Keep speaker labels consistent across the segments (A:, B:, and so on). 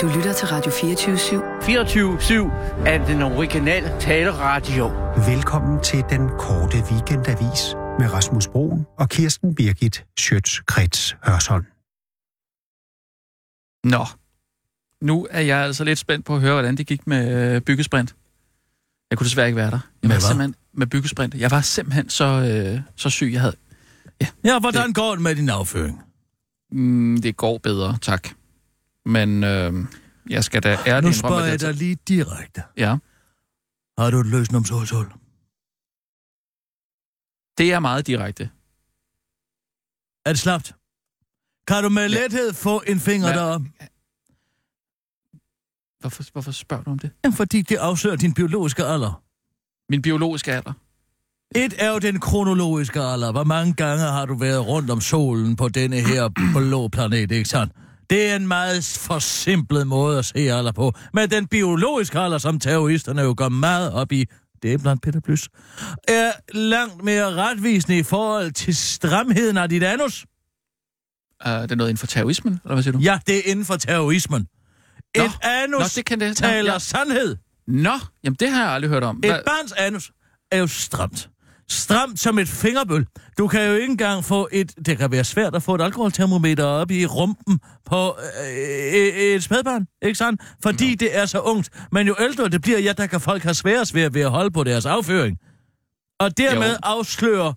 A: Du lytter til Radio 24 /7.
B: 24-7 af den originale taleradio.
C: Velkommen til den korte weekendavis med Rasmus Broen og Kirsten Birgit Schøtz-Krets Hørsholm.
D: Nå, nu er jeg altså lidt spændt på at høre, hvordan det gik med øh, byggesprint. Jeg kunne desværre ikke være der. Jeg
E: Med
D: var
E: hvad?
D: simpelthen med byggesprint. Jeg var simpelthen så, øh, så syg, jeg havde.
E: Ja, hvordan går det med din afføring?
D: Mm, det går bedre, tak. Men øh, jeg skal da ærligt
E: nu
D: indrømme,
E: spørger
D: at
E: jeg altså.
D: jeg-
E: dig lige direkte.
D: Ja,
E: Har du et løsnumshulshul?
D: det er meget direkte.
E: Er det slapt? Kan du med
D: Ja.
E: lethed få en finger
D: Ja.
E: derop?
D: Hvorfor, hvorfor spørger du om det?
E: Jamen, fordi det afslører din biologiske alder.
D: Min biologiske alder.
E: Et er jo den kronologiske alder. Hvor mange gange har du været rundt om solen på denne her blå planet, ikke sandt? Det er en meget forsimplet måde at se alder på. Men den biologiske alder, som terroristerne jo går meget op i, det er blandt Peter Plys, er langt mere retvisende i forhold til stramheden af dit anus.
D: Uh, det er noget inden for terrorismen, eller hvad siger du?
E: Ja, det er inden for terrorismen. Et
D: Nå,
E: anus
D: Nå, det kan det. Nå,
E: taler
D: ja.
E: sandhed.
D: Nå, jamen det har jeg aldrig hørt om.
E: Et barns anus er jo stramt. Stramt som et fingerbøl. Du kan jo ikke engang få et... Det kan være svært at få et alkoholtermometer op i rumpen på øh, øh, et spædbarn, ikke sandt? Fordi no. det er så ungt. Men jo ældre det bliver, ja, der kan folk have sværest ved, ved at holde på deres afføring. Og dermed jo.
D: Jo.
E: afslører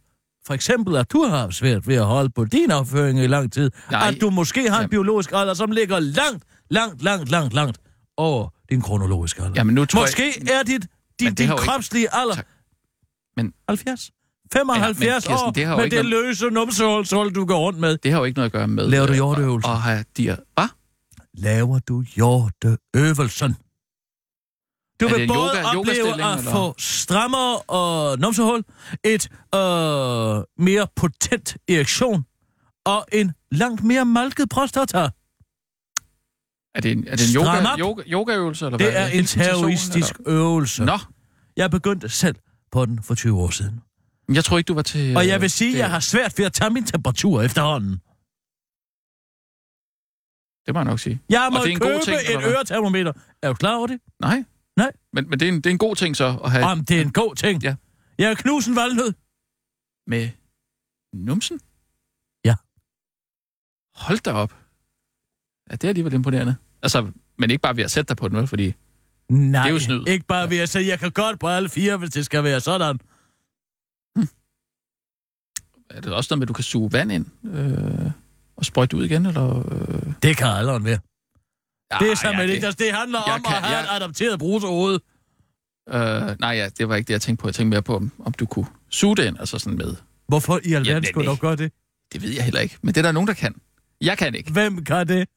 E: for eksempel, at du har haft svært ved at holde på din afføring i lang tid. Nej.
D: Nej.
E: At du måske har en
D: Jamen.
E: biologisk alder, som ligger langt, langt, langt, langt, langt over din kronologiske alder.
D: Jamen, nu tror jeg-
E: Måske er dit, din,
D: Men det
E: din
D: har jo ikke-
E: kropslige ikke... alder
D: Tak. Men-
E: 70? 75
D: Ja, men
E: ja,
D: Kirsten,
E: år
D: det har jo
E: med
D: ikke
E: det
D: noget-
E: løse numsehulshul, du går rundt med.
D: Det har jo ikke noget at gøre med...
E: Laver du
D: øh,
E: hjorteøvelser?
D: Og, og have de... Hvad?
E: Laver du hjorteøvelsen? Du
D: Er
E: vil
D: det en
E: både
D: yoga-
E: opleve
D: yogastilling,
E: at
D: eller?
E: få strammere og numsehul, et øh, mere potent erektion og en langt mere malket prostata.
D: Er det en, er det en
E: Stram
D: yoga,
E: op.
D: yoga, yogaøvelse, eller hvad?
E: Det er en
D: Invitation,
E: terroristisk øvelse.
D: eller? Nå,
E: Jeg begyndte selv på den for 20 år siden.
D: men jeg tror ikke, du var til...
E: Og
D: øh,
E: jeg vil sige, at
D: det,
E: jeg har svært ved at tage min temperatur efterhånden.
D: Det må jeg nok sige.
E: Jeg
D: Og
E: må
D: det er en god
E: købe
D: ting, eller
E: et
D: hvad?
E: øretermometer. Er du klar over det?
D: Nej.
E: Nej.
D: Men, men det, er en, det er en god ting så at have
E: Om det er en god ting.
D: Ja.
E: Jeg er knusen valnød.
D: med numsen.
E: Ja.
D: Hold da op. Ja, det er alligevel imponerende. Altså, men ikke bare ved at sætte dig på den, vel? Fordi
E: Nej,
D: Det er jo snyd.
E: ikke bare ved at sige, jeg kan godt på alle fire, hvis det skal være sådan.
D: er det også noget med, at du kan suge vand ind øh, og sprøjte ud igen, eller... Øh...
E: Det kan alderen være. det er
D: Ah,
E: sammen ja, det. Det handler
D: Jeg
E: om
D: kan-
E: at have
D: jeg-
E: et adopteret brusehoved.
D: Øh, nej, ja, det var ikke det, jeg tænkte på. Jeg tænkte mere på, om, om du kunne suge det ind, altså sådan med.
E: Hvorfor i
D: Jamen,
E: alverden skulle du
D: ikke.
E: gøre det?
D: Det ved jeg heller ikke, men det er der nogen, der kan. Jeg kan ikke.
E: Hvem kan det?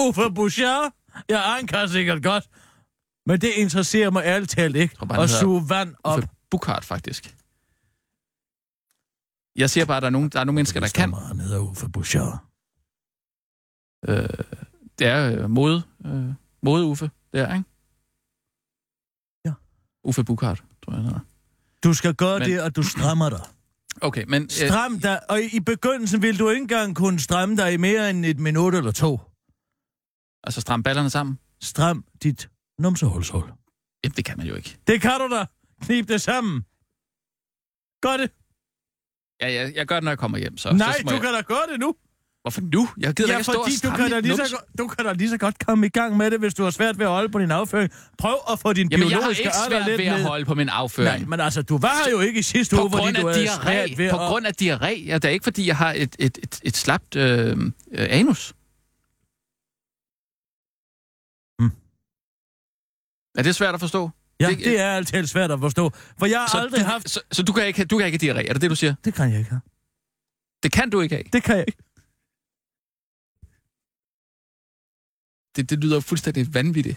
E: Uffe Bouchard? Ja, han kan sikkert godt. Men det interesserer mig ærligt talt ikke.
D: tror bare, han
E: At
D: hedder
E: suge vand op.
D: For Bukart, faktisk. Jeg siger bare, at der er nogen, der er nogle mennesker, der
E: Hvis der er
D: kan.
E: meget, Han hedder Uffe Bouchard.
D: Øh, det er øh, mode, øh, mode Uffe, det er, ikke?
E: Ja.
D: Uffe Bukart, tror jeg, han hedder.
E: Du skal gøre
D: Men-
E: det, at du strammer dig.
D: Okay, men... Øh,
E: Stram dig, og i i begyndelsen ville du ikke engang kunne stramme dig i mere end et minut eller to.
D: altså, stram ballerne sammen?
E: Stram dit numsehulshul.
D: Jamen, det kan man jo ikke.
E: Det kan du da. Knib det sammen. Gør det.
D: Ja, jeg, jeg gør det, når jeg kommer hjem, så...
E: Så, Nej,
D: så må
E: du
D: jeg...
E: kan da gøre det nu.
D: Hvorfor nu? Jeg gider da
E: Ja,
D: ikke stå og
E: fordi du
D: stramme
E: kan, da
D: mit
E: lige så
D: numse.
E: godt, du kan da lige så godt komme i gang med det, hvis du har svært ved at holde på din afføring. Prøv at få din
D: Jamen, jeg har
E: biologiske
D: ikke
E: alder
D: svært
E: lidt
D: ved at
E: ned.
D: holde på min afføring.
E: Nej, men altså, du var her jo ikke i sidste
D: på
E: uge, fordi
D: grund af
E: du havde svært ved
D: diarré. På
E: at...
D: grund af diarré. Ja, det er ikke, fordi jeg har et, et, et, et slapt øh, øh, anus.
E: Hmm.
D: Er det svært at forstå?
E: Ja,
D: det-
E: det er altid svært at forstå. For jeg har så aldrig
D: du,
E: haft...
D: Så, så du, kan ikke, have- du kan ikke have diarré, er det det, du siger?
E: Det kan jeg ikke have.
D: Det kan du ikke have.
E: Det kan jeg ikke.
D: Det, det lyder fuldstændig vanvittigt.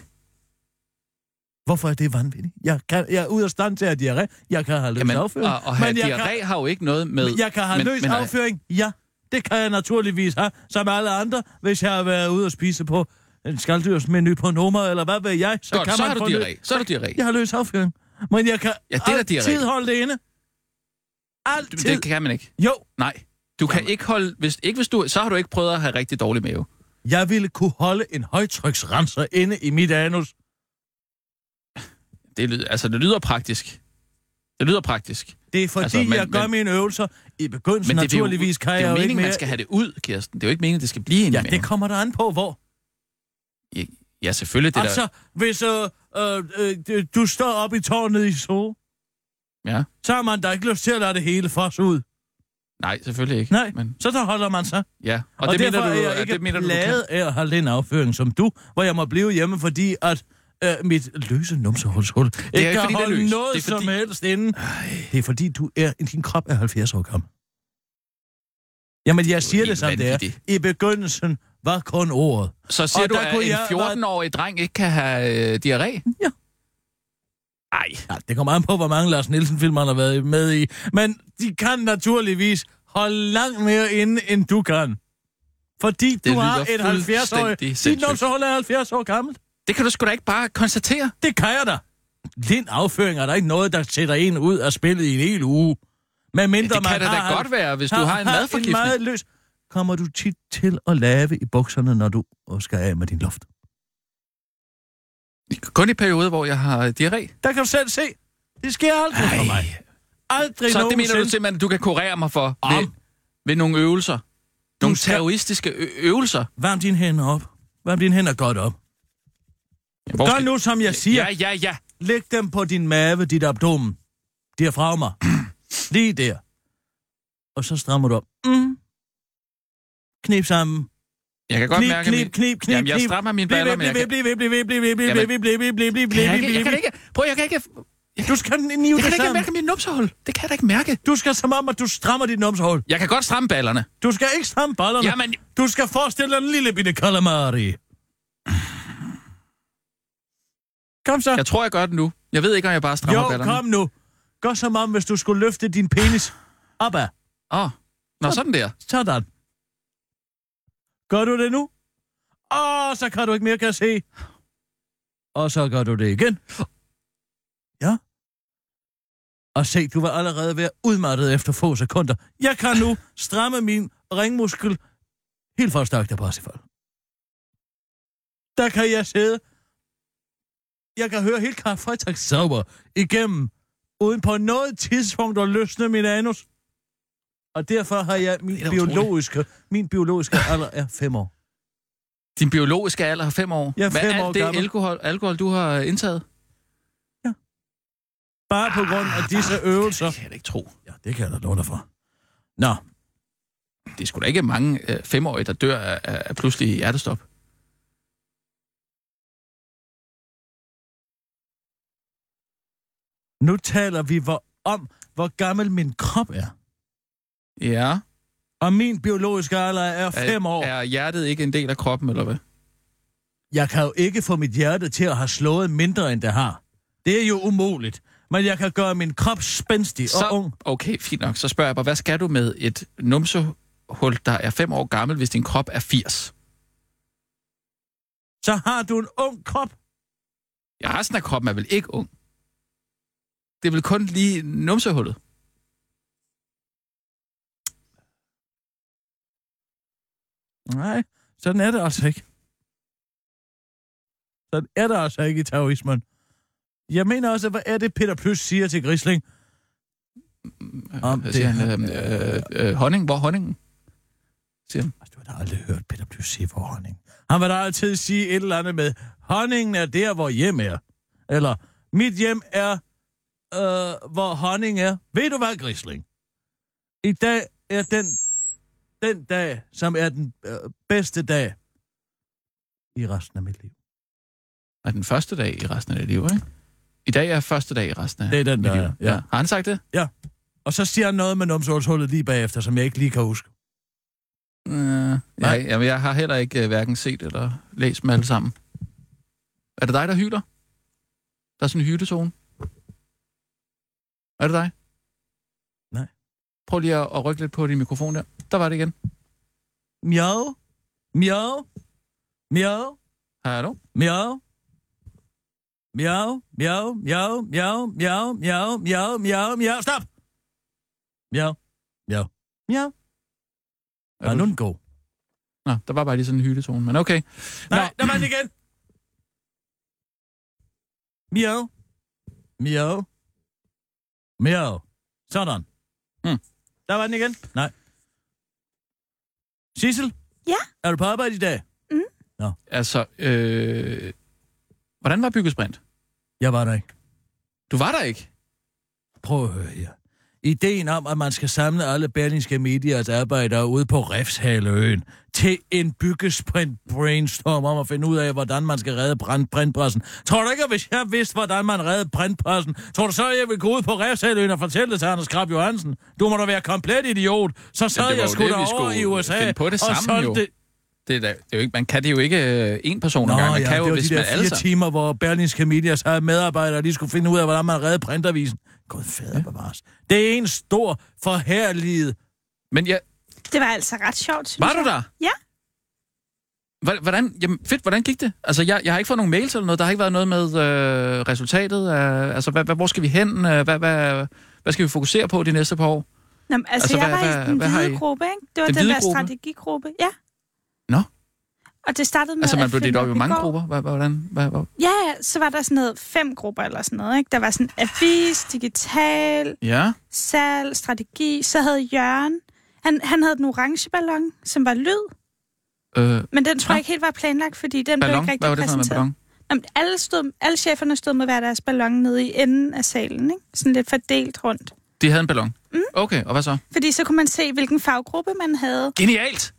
E: Hvorfor er det vanvittigt? Jeg, kan, jeg er ude af stand til at have diarré. Jeg kan have løs
D: Jamen,
E: afføring.
D: og, og have
E: men jeg
D: diarré
E: kan,
D: har jo ikke noget med...
E: jeg kan have
D: men-
E: løs
D: men-
E: afføring, ja. Det kan jeg naturligvis have, som alle andre, hvis jeg har været ude og spise på en skalddyrsmenu på nummer, eller hvad ved jeg. Så
D: Godt,
E: kan
D: så
E: man
D: har du
E: få løs-
D: diarré. Så har du diarré.
E: Jeg har løs afføring. Men jeg kan
D: Ja, det er da diarré.
E: altid holde det inde.
D: Men
E: Altid.
D: Det kan man ikke.
E: Jo,
D: Nej. Du kan ikke holde... Hvis, ikke hvis du, så har du ikke prøvet at have rigtig dårlig mave.
E: Jeg ville kunne holde en højtryksrenser inde i mit anus.
D: Det lyder, altså, det lyder praktisk. Det lyder praktisk.
E: Det er fordi,
D: Altså,
E: altså,
D: men-
E: men, jeg gør
D: men-
E: mine øvelser i begyndelsen.
D: Men det,
E: naturligvis
D: det, det, er
E: kan
D: jo, det
E: jeg
D: er jo
E: jo ikke
D: meningen,
E: mere.
D: man skal have det ud, Kirsten. Det er jo ikke meningen, det skal blive en
E: Ja,
D: maven.
E: det kommer der an på, hvor.
D: Ja, selvfølgelig. Det
E: Det
D: er
E: altså,
D: der...
E: hvis øh, øh, øh, du står op i tårnet i sol,
D: Ja.
E: så har man da ikke lyst til at lade det hele fosse ud.
D: Nej, selvfølgelig ikke.
E: Nej,
D: Men,
E: så der holder man sig.
D: ja. Og, og det mener
E: derfor
D: du,
E: er jeg
D: at
E: ikke
D: det mener du, du kan.
E: plaget af at have den afføring som du, hvor jeg må blive hjemme, fordi at øh, mit løse numsehulshul ikke,
D: ikke,
E: kan
D: fordi det er
E: holde
D: løst.
E: noget
D: Det er
E: som
D: fordi-
E: helst inden. Det er fordi, du er, din krop er 70 år gammel. Jamen, jeg siger
D: helt
E: det, som det er.
D: vanvittigt.
E: I begyndelsen var kun ordet.
D: Så siger
E: Og
D: du,
E: der
D: at
E: kunne
D: en
E: jeg-
D: 14-årig dreng ikke kan have øh, diarré?
E: Ja.
D: Ej,
E: Ja, det kommer an på, hvor mange Lars Nielsen-filmer han har været med i. Men de kan naturligvis holde langt mere inde, end du kan. Fordi det du
D: lyder
E: har et 70-årig...
D: fuldstændig
E: Dit
D: sindssygt.
E: numsehul er 70 år gammelt.
D: det kan du sgu da ikke bare konstatere.
E: Det kan jeg da. Lind afføring er der ikke noget, der sætter en ud af spillet i en hel uge. Men mindre
D: Det kan
E: man
D: da
E: har,
D: da godt være, hvis du har en madforgiftning.
E: meget løs. Kommer du tit til at lave i bukserne, når du skal af med din luft?
D: Kun i perioder, hvor jeg har diarré.
E: Der kan du selv se. Det sker aldrig Ej. for mig. Aldrig
D: Så det mener du
E: nogensinde.
D: simpelthen, at du kan kurere mig for ved,
E: Om.
D: ved nogle øvelser? Nogle
E: skal-
D: terroristiske ø- øvelser?
E: Varm dine hænder op. Varm dine hænder godt op.
D: Hvor
E: Gør
D: skal-
E: nu, som jeg siger.
D: Ja, ja, ja.
E: Læg dem på din mave, dit abdomen. Diafragma. Lige der. Og så strammer du op. Mm. Knip sammen.
D: Jeg kan godt
E: knip,
D: mærke, at
E: knip,
D: min-
E: knip, knip,
D: Jamen, jeg
E: knip.
D: strammer mine
E: Bliv
D: baller,
E: ved,
D: men jeg
E: bliv ved,
D: kan-
E: bliv ved, bliv ved, bliv ved, bliv ved,
D: Jamen-
E: bliv ved, bliv ved, bliv ved,
D: Jeg kan,
E: bliv ved,
D: jeg kan
E: bliv ved.
D: ikke... Prøv, jeg kan ikke...
E: Du skal nive
D: Jeg kan
E: det
D: da ikke
E: sammen.
D: mærke min numsehul. Det kan jeg da ikke mærke.
E: Du skal som om, at du strammer dit numsehul.
D: Jeg kan godt stramme ballerne.
E: Du skal ikke stramme ballerne.
D: Jamen,
E: Du skal forestille dig en lille bitte calamari. Kom så.
D: jeg tror, jeg gør det nu. Jeg ved ikke, om jeg bare strammer
E: Jo,
D: ballerne.
E: kom nu. Gør som om, hvis du skulle løfte din penis opad.
D: Åh, oh. nå, sådan der.
E: Sådan. Gør du det nu? Åh, så kan du ikke mere, kan jeg se. Og så gør du det igen. Ja. Og se, du var allerede ved at udmattet efter få sekunder. Jeg kan nu stramme min ringmuskel helt for stærkt af Parsifal. Der kan jeg sidde. Jeg kan høre helt Karl Freitags sauber igennem, uden på noget tidspunkt at løsne min anus. Og derfor har jeg min
D: Det er da utroligt.
E: biologiske, min biologiske alder er fem år.
D: Din biologiske alder er fem år.
E: Jeg er
D: Hvad
E: fem
D: er
E: år
D: det
E: gammel.
D: alkohol, alkohol, du har indtaget?
E: Bare på grund af disse øvelser.
D: Det kan jeg da ikke tro.
E: Ja, det kan jeg da love dig for. Nå,
D: Det er sgu da ikke mange øh, femårige, der dør af, af, af pludselig hjertestop.
E: nu taler vi hvor om, hvor gammel min krop er.
D: Ja.
E: Og min biologiske alder er
D: Er-
E: fem år.
D: Er hjertet ikke en del af kroppen, eller hvad?
E: Jeg kan jo ikke få mit hjerte til at have slået mindre, end det har. Det er jo umuligt. Men jeg kan gøre min krop spændstig
D: Så,
E: og ung.
D: okay, fint nok. Så spørger jeg bare, hvad skal du med et numsehul, der er fem år gammel, hvis din krop er 80?
E: Så har du en ung krop.
D: Ja, resten af kroppen er vel ikke ung? Det er vel kun lige numsehullet?
E: Nej, sådan er det altså ikke. Sådan er det altså ikke i terrorismen. Jeg mener også, hvad er det, Peter Plys siger til Grisling? Om
D: Hvad
E: det-
D: siger han? Øh, øh, øh, honning? Hvor er honningen?
E: Altså, du har da aldrig hørt Peter Plys sige for honning. Han vil da altid sige et eller andet med, honningen er der, hvor hjem er. Eller, mit hjem er, øh, hvor honning er. Ved du hvad, Grisling? I dag er den, den dag, som er den øh, bedste dag i resten af mit liv.
D: Er den første dag i resten af dit liv, ikke? I dag er første dag i resten af
E: Det er den,
D: mit
E: der
D: liv.
E: er, ja.
D: Har han sagt det?
E: Og så siger han noget med numsehulshullet lige bagefter, som jeg ikke lige kan huske.
D: Øh, Nej.
E: Nej.
D: Jeg, jamen, jeg har heller ikke øh, hverken set eller læst dem alle sammen. Er det dig, der hyler? Der er sådan en hyletone. Er det dig?
E: Nej.
D: Prøv lige at, at rykke lidt på din mikrofon der. Der var det igen.
E: Mjau, mjau, mjau.
D: Hallo?
E: Miau. Miau, miau, miau, miau, miau, miau, miau, miau, miau. Stop! Miau. Miau. Miau.
D: Er
E: Er
D: du-
E: nu den god?
D: Nå, der var bare lige sådan en hyldetone, men okay.
E: Nej, der var den igen. Miau. Miau. Miau. Sådan. Hm.
D: Mm.
E: Der var den igen. Nej. Sissel?
A: Ja?
E: Er du på arbejde i dag?
D: Altså, øh, hvordan var byggesprint?
E: Jeg var der ikke.
D: Du var der ikke.
E: Prøv at høre her. Ideen om, at man skal samle alle berlingske mediers arbejdere ude på Refshaløen til en byggesprint brainstorm om at finde ud af, hvordan man skal redde brand brandpressen. Tror du ikke, at hvis jeg vidste, hvordan man redde brandpressen, tror du så, at jeg ville gå ud på Refshaløen og fortælle det til Anders Krab Johansen? Du må da være komplet idiot. Så sad
D: det var
E: jeg
D: jo
E: sgu
D: det, vi
E: derovre
D: skulle
E: i USA
D: finde på det
E: og
D: sammen,
E: solgte
D: jo.
E: det.
D: Det er, da, det er jo ikke, man kan det jo ikke øh, en person ad gangen. Man
E: ja,
D: kan
E: det
D: jo,
E: var
D: hvis
E: de
D: man
E: der
D: altså- alle
E: fire
D: sammen...
E: timer, hvor Berlingske Medias havde medarbejdere, de skulle finde ud af, hvordan man redde printavisen. Gud fader bevares. Det er en stor forhærlighed.
D: Men ja,
A: Det var altså ret sjovt, synes
D: var
A: jeg.
D: du der?
A: Ja.
D: Hvor- Hvordan, jamen fedt, hvordan gik det? Altså, jeg, jeg har ikke fået nogen mails eller noget. Der har ikke været noget med øh, resultatet. Af, altså, hvad, hvad, hvor skal vi hen? Øh, Hvad, hvad, hvad skal vi fokusere på de næste par år?
A: Nå, men, altså,
D: Altså,
A: altså, jeg
D: hvad-
A: var
D: hvad-
A: i den
D: hvad har
A: hvide
D: I?
A: gruppe, ikke? Det var
D: Den
A: den,
D: hvide
A: der
D: gruppe?
A: strategigruppe, ja.
D: Nå.
A: Og det startede med...
D: Altså, man
A: at
D: blev
A: finde
D: delt op i mange
A: går.
D: grupper. Hvad- Hvordan? Hvad, hvad?
A: Ja, ja, så var der sådan noget fem grupper eller sådan noget, ikke? Der var sådan avis, digital,
D: Ja.
A: salg, strategi. Så havde Jørgen... Han, han havde den orange ballon, som var lyd,
D: Øh,
A: men den tror jeg
D: Nå.
A: ikke helt var planlagt, fordi den blev
D: ballon?
A: ikke
D: Hvad
A: rigtig
D: var det for noget med
A: præsenteret.
D: ballon?
A: Jamen, alle, stod, alle cheferne stod med hver deres ballon nede i enden af salen, ikke? Sådan lidt fordelt rundt.
D: De havde en ballon? Mm. Okay, og hvad så?
A: Fordi så kunne man se, hvilken faggruppe man havde.
D: Genialt!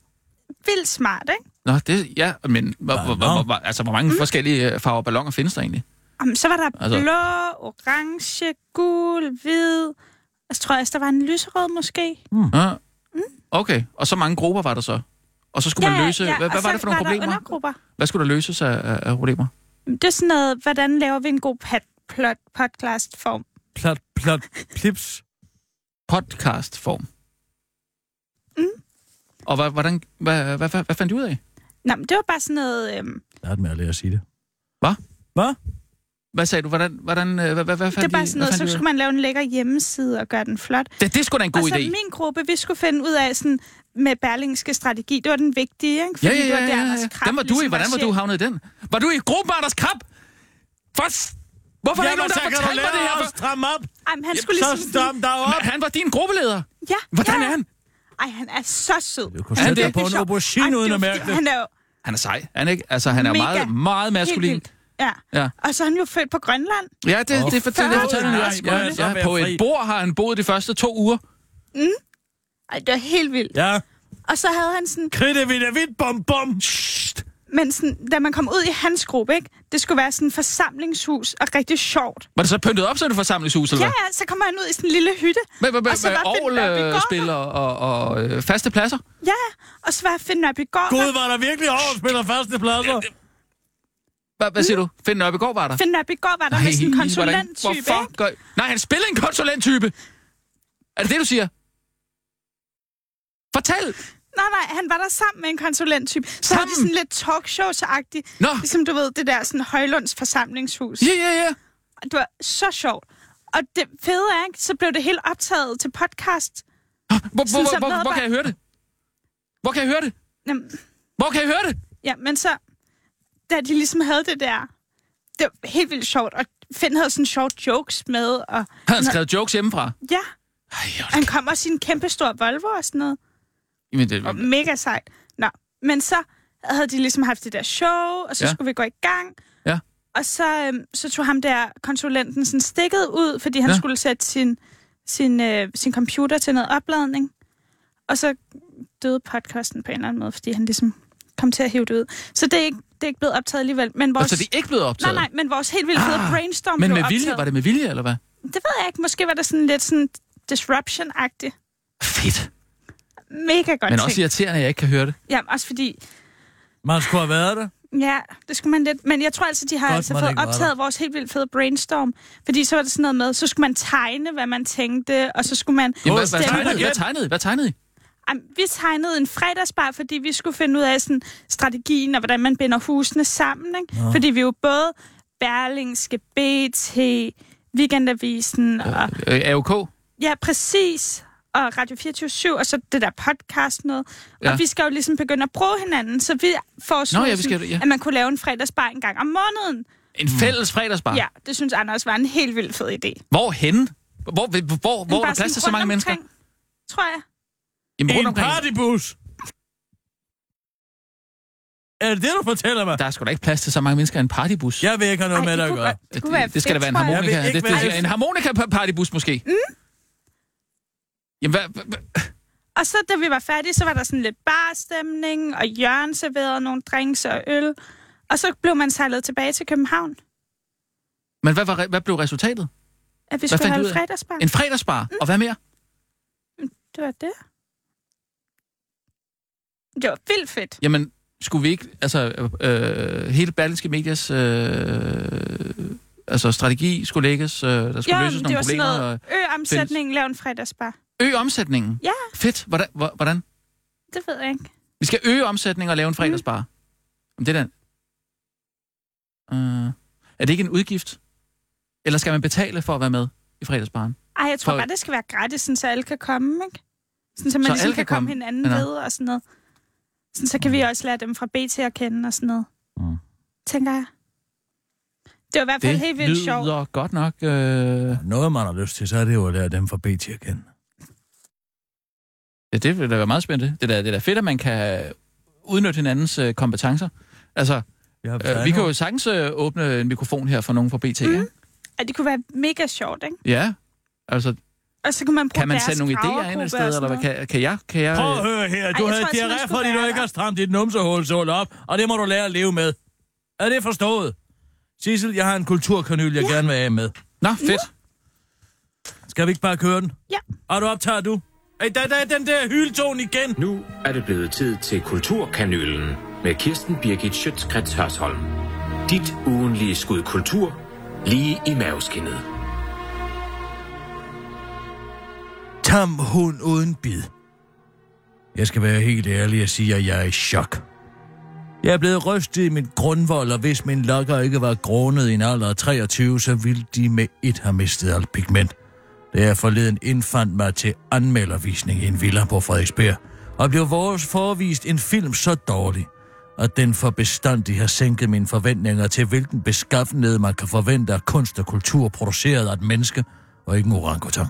A: Vildt smart, ikke?
D: Nå, det, ja, men hvor, hvor, hvor,
E: Ballon.
D: hvor, altså, hvor mange mm. forskellige øh, farver balloner findes der egentlig?
A: Jamen, så var der
D: Altså-
A: altså... blå, orange, gul, hvid. Og så tror jeg også, der var en lyserød måske.
D: Ja. Okay, og så mange grupper var der så? Og så skulle man løse... hvad,
A: og
D: hvad var
A: så
D: det for nogle
A: var Der
D: problemer?
A: undergrupper.
D: Hvad skulle der løses af, af- af problemer?
A: Jamen, det er sådan noget, hvordan laver vi en god pat- plot podcast-form?
E: Plot, plot, plips.
D: Podcast-form.
A: Mm.
D: Og hvad, hvordan, hvad, hvad, hvad, hvad fandt du ud af?
A: Nå, men det var bare sådan noget... Øhm,
E: Lad med at lære at sige det.
D: Hvad sagde du? Hvordan, hvordan, øh, hvad, hvad, hvad
A: det
D: fandt
A: var bare
D: I- hvad
A: sådan noget,
D: fandt
A: så
D: I ud af?
A: skulle man lave en lækker hjemmeside og gøre den flot.
D: Det, det er sgu da en god
A: og så
D: idé.
A: min gruppe, vi skulle finde ud af sådan, med berlingske strategi. Det var den vigtige, ikke? Fordi
D: Ja, ja,
A: det
D: ja,
A: var der,
D: ja,
A: Anders
D: ja.
A: Krab
D: Den var du i.
A: ligesom
D: Hvordan var du
A: chef.
D: havnet i den? Var du i gruppen med Anders Krab? For... s- Hvorfor er der ikke nogen, der har fortalt mig det her? for-
E: Stram op,
A: Ej, men han skulle
E: så
A: ligesom...
E: stram dig op.
D: Men Han var din gruppeleder.
A: Ja,
D: Hvordan
A: ja.
D: er han?
A: Ej, han er så sød.
E: Du kunne
D: Er han
E: sætte
D: det?
E: dig på en
A: sjovt. Ej,
E: aubergine
A: det
E: uden
A: er
E: at
A: jo
E: mærke
A: fordi,
E: det.
A: Han er jo
D: Han er sej. Han, ikke? Altså, han er
A: Mega.
D: meget, meget
A: helt
D: maskulin.
A: vildt. Ja.
D: Ja.
A: Og så er han jo født på Grønland.
D: Ja, det, det,
E: Åh,
D: det, fortæller, det
A: fanden.
D: fortæller han
E: Nej,
D: også.
E: må jeg så
D: Ja, ja,
E: være
D: på
E: fri?
D: et bord har han boet de første to uger.
A: Ej, det var helt vildt.
E: Ja,
A: Og så havde han sådan...
E: kridte vi det vidt, bom, bom.
A: Men sådan, da man kom ud i hans gruppe, ikke? Det skulle være sådan et forsamlingshus og rigtig sjovt.
D: Var det så pyntet op som et forsamlingshus, eller
A: Ja,
D: hvad?
A: ja, så kommer han ud i sådan en lille hytte.
D: Med, med, med,
A: Og så
D: med
A: var Finn Nørby Gård
D: orgelspil og, øh, og, og øh, faste pladser?
A: Ja, og så var Finn Nørby Gård.
E: Gud, var der virkelig overspiller første pladser.
D: Hvad, hvad siger
A: Mm.
D: du? Finn Nørbegaard var der?
A: Finn Nørby Gård var der
D: Nej,
A: med sådan en
D: hvordan-
A: konsulenttype,
D: Hvorfor?
A: ikke?
D: Gør... Nej, han spiller en konsulenttype! Er det det, du siger? Fortæl!
A: Nej, nej, han var der sammen med en konsulenttype. Så havde de
D: Sammen?
A: sådan lidt talkshows-agtigt.
D: Nå.
A: Ligesom du ved, det der sådan Højlunds forsamlingshus.
D: Ja, ja, ja.
A: Og Det var så sjovt. Og det fede er, ikke? så blev det helt optaget til podcast.
D: Hvor, hvor,
A: Sådan
D: hvor, hvor,
A: som
D: hvor
A: medarbejder-
D: kan jeg høre det? Hvor kan jeg høre det?
A: Jamen,
D: Hvor kan jeg høre det?
A: ja, men så, da de ligesom havde det der, det var helt vildt sjovt. Og Finn havde sådan sjove jokes med, og
D: Havde han skrevet jokes hjemmefra?
A: ja,
D: Ej,
A: han kom også i en kæmpe stor Volvo og sådan noget.
D: Jamen, det,
A: Og mega sejt. Nå, men så havde de ligesom haft det der show, og så
D: Ja.
A: ja. skulle vi gå i gang.
D: Ja.
A: Og så, øhm, så tog ham der konsulenten sådan stikket ud, fordi han
D: Ja.
A: ja. skulle sætte sin, sin, øh, sin computer til noget opladning. Og så døde podcasten på en eller anden måde, fordi han ligesom kom til at hive det ud. Så det er ikke, det er ikke blevet optaget alligevel. Men vores,
D: og så er Altså, det ikke blevet optaget?
A: nej, nej, men vores helt vildt fede
D: Ah,
A: ah, brainstorm
D: Men
A: blev
D: med
A: optaget.
D: vilje? Var det med vilje, eller hvad?
A: det ved jeg ikke. Måske var det sådan lidt sådan disruption-agtigt.
D: Fedt.
A: Mega godt
D: Men
A: tænkt.
D: også irriterende, at jeg ikke kan høre det.
A: Ja, også fordi
E: Man skulle have været der.
A: Ja, det skulle man lidt. Men jeg tror altså, de har
E: Godt,
A: altså
E: man
A: fået
E: ikke var
A: optaget vores helt vildt fede brainstorm. Fordi så var det sådan noget med, så skulle man tegne, hvad man tænkte, og så skulle man...
D: Jamen,
E: Åh,
D: hvad, hvad,
A: stemmer.
D: tegnede, I? hvad tegnede I? Hvad tegnede I?
A: Jamen, vi tegnede en fredagsbar, fordi vi skulle finde ud af sådan, strategien og hvordan man binder husene sammen. Ikke? Fordi vi jo både Berlingske, BT, Weekendavisen og...
D: Øh, AOK?
A: Ja, præcis. og Radio 24 og så det der podcast noget. Ja.
D: Ja.
A: Og vi skal jo ligesom begynde at bruge hinanden, så vi foreslår,
D: Nå, ja, vi
A: sådan,
D: skal- ja.
A: at man kunne lave en fredagsbar en gang om måneden.
D: En fælles fredagsbar?
A: Mm. Ja, det synes Anders var en helt vildt fed idé.
D: Hvor henne? Hvor, hvor, hvor, hvor er der plads til så mange mennesker?
A: Tror jeg.
D: Jamen, rundt
E: En
D: omkring.
E: partybus! Er det det, du fortæller mig?
D: Der er sgu da ikke plads til så mange mennesker i en partybus.
E: Jeg vil ikke have noget
A: Ej,
E: med dig
A: det
E: at
A: kunne
E: gøre.
A: godt- det kunne være
D: det, det skal da
A: fedt,
D: være en
A: tror jeg.
D: harmonika.
E: Jeg
D: Det,
E: vil
D: det,
E: ikke
D: det,
E: være-
D: en harmonika-partybus måske. Mm. Jamen, hvad, hvad, hvad-
A: Og så da vi var færdige, så var der sådan lidt barstemning, og Jørgen serverede nogle drinks og øl. Og så blev man sejlet tilbage til København,
D: men hvad, hvad, hvad blev resultatet?
A: at
D: Hvad
A: vi skulle
D: fandt
A: have
D: du ud af?
A: fredagsbar.
D: En fredagsbar,
A: Mm.
D: og hvad mere?
A: Det var det. Det var vildt fedt.
D: Jamen, skulle vi ikke, altså øh, hele Berlingske Medias øh, altså, strategi skulle lægges, øh, der skulle
A: Jo,
D: løses
A: men det
D: nogle
A: var sådan
D: problemer.
A: noget
D: Noget...
A: ø-omsætning, lav en fredagsbar.
D: Øge omsætningen?
A: Ja.
D: Fedt, hvordan? hvor- hvordan?
A: Det ved jeg ikke.
D: Vi skal øge omsætningen og lave en fredagsbar. Mm. Det er, da- øh, er det ikke en udgift? Eller skal man betale for at være med i fredagsbaren?
A: Ej, jeg tror
D: For-
A: bare, det skal være gratis, sådan, så alle kan komme, ikke? Sådan, så man
D: Så
A: så ligesom
D: alle
A: kan
D: kan
A: komme
D: komme?
A: hinanden
D: Ja. Mm.
A: ved og sådan noget. Sådan, så kan vi også lære dem fra B til at kende og sådan noget.
E: Mm.
A: Tænker jeg. Det var i hvert fald
D: Det
A: helt vildt sjovt.
D: lyder godt nok... Øh...
E: Noget, man har lyst til, så er det jo at lære dem fra BT at kende.
D: Ja, det vil da være meget spændende. Det er da, det er da fedt, at man kan udnytte hinandens øh, kompetencer. Altså,
E: Jeg har
D: øh, vi kan jo sagtens øh, åbne en mikrofon her for nogen fra BT, mm.
A: Og det kunne være mega sjovt, ikke?
D: Ja. Altså,
A: Og så kunne man bruge
D: kan man
A: deres
D: sende nogle idéer ind
A: gravergruppe
D: et
A: og
D: sted,
A: sådan
D: eller hvad?
A: noget.
D: Kan, kan jeg? Kan jeg
E: Prøv at
D: øh,
E: høre her.
A: Ej,
E: Du
A: jeg
E: havde
A: tror altså, man
E: diarré,
A: skulle
E: fordi
A: være
E: du ikke
A: der.
E: har stramt dit numsehulsål op, og det må du lære at leve med. Er det forstået? Sissel, jeg har en kulturkanyl, jeg ja. gerne vil af med.
D: Nå, fedt.
E: Skal vi ikke bare køre den?
A: Ja.
E: Og du optager du? Ej, der, der er den der hylton igen.
F: Nu er det blevet tid til Kulturkanylen med Kirsten Birgit Schøtzgrads Hørsholm. Dit ugenlige skud kultur lige i maveskinnet.
E: Tam hund uden bid. Jeg skal være helt ærlig og sige, at jeg er i chok. Jeg er blevet rystet i mit grundvold, og hvis min lokker ikke var grundet i en alder af 23, så ville de med et have mistet alt pigment. Da jeg forleden indfandt mig til anmeldervisning i en villa på Frederiksberg, og blev vores forvist en film så dårlig, at den for bestandig har sænket mine forventninger til, hvilken beskaffenhed man kan forvente af kunst og kultur produceret af et menneske, og ikke en orangutang.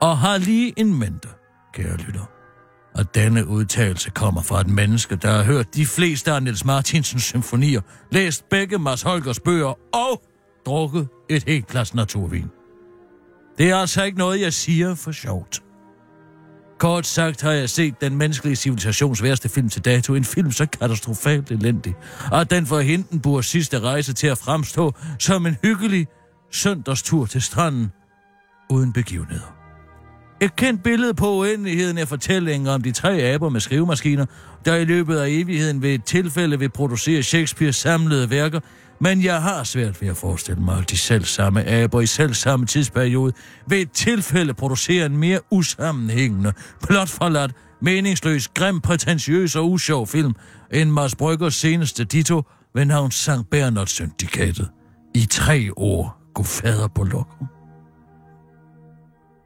E: Og har lige en mente, kære lytter at denne udtalelse kommer fra et menneske, der har hørt de fleste af Niels Martinsens symfonier, læst begge Mads Holgers bøger og drukket et helt glas naturvin. Det er altså ikke noget, jeg siger for sjovt. Kort sagt har jeg set den menneskelige civilisations værste film til dato, en film så katastrofalt elendig, at den får Hindenburgs sidste rejse til at fremstå som en hyggelig søndagstur til stranden uden begivenheder. Et kendt billede på uendeligheden er fortællingen om de tre aber med skrivemaskiner, der i løbet af evigheden ved et tilfælde vil producere Shakespeares samlede værker, men jeg har svært ved at forestille mig, at de selv samme aber i selv samme tidsperiode ved et tilfælde producerer en mere usammenhængende, plotforladt, meningsløs, grim, prætentiøs og usjov film end Mads Bryggers seneste ditto ved navn Sankt Bernard Syndikatet. I tre år gå fader på lokum.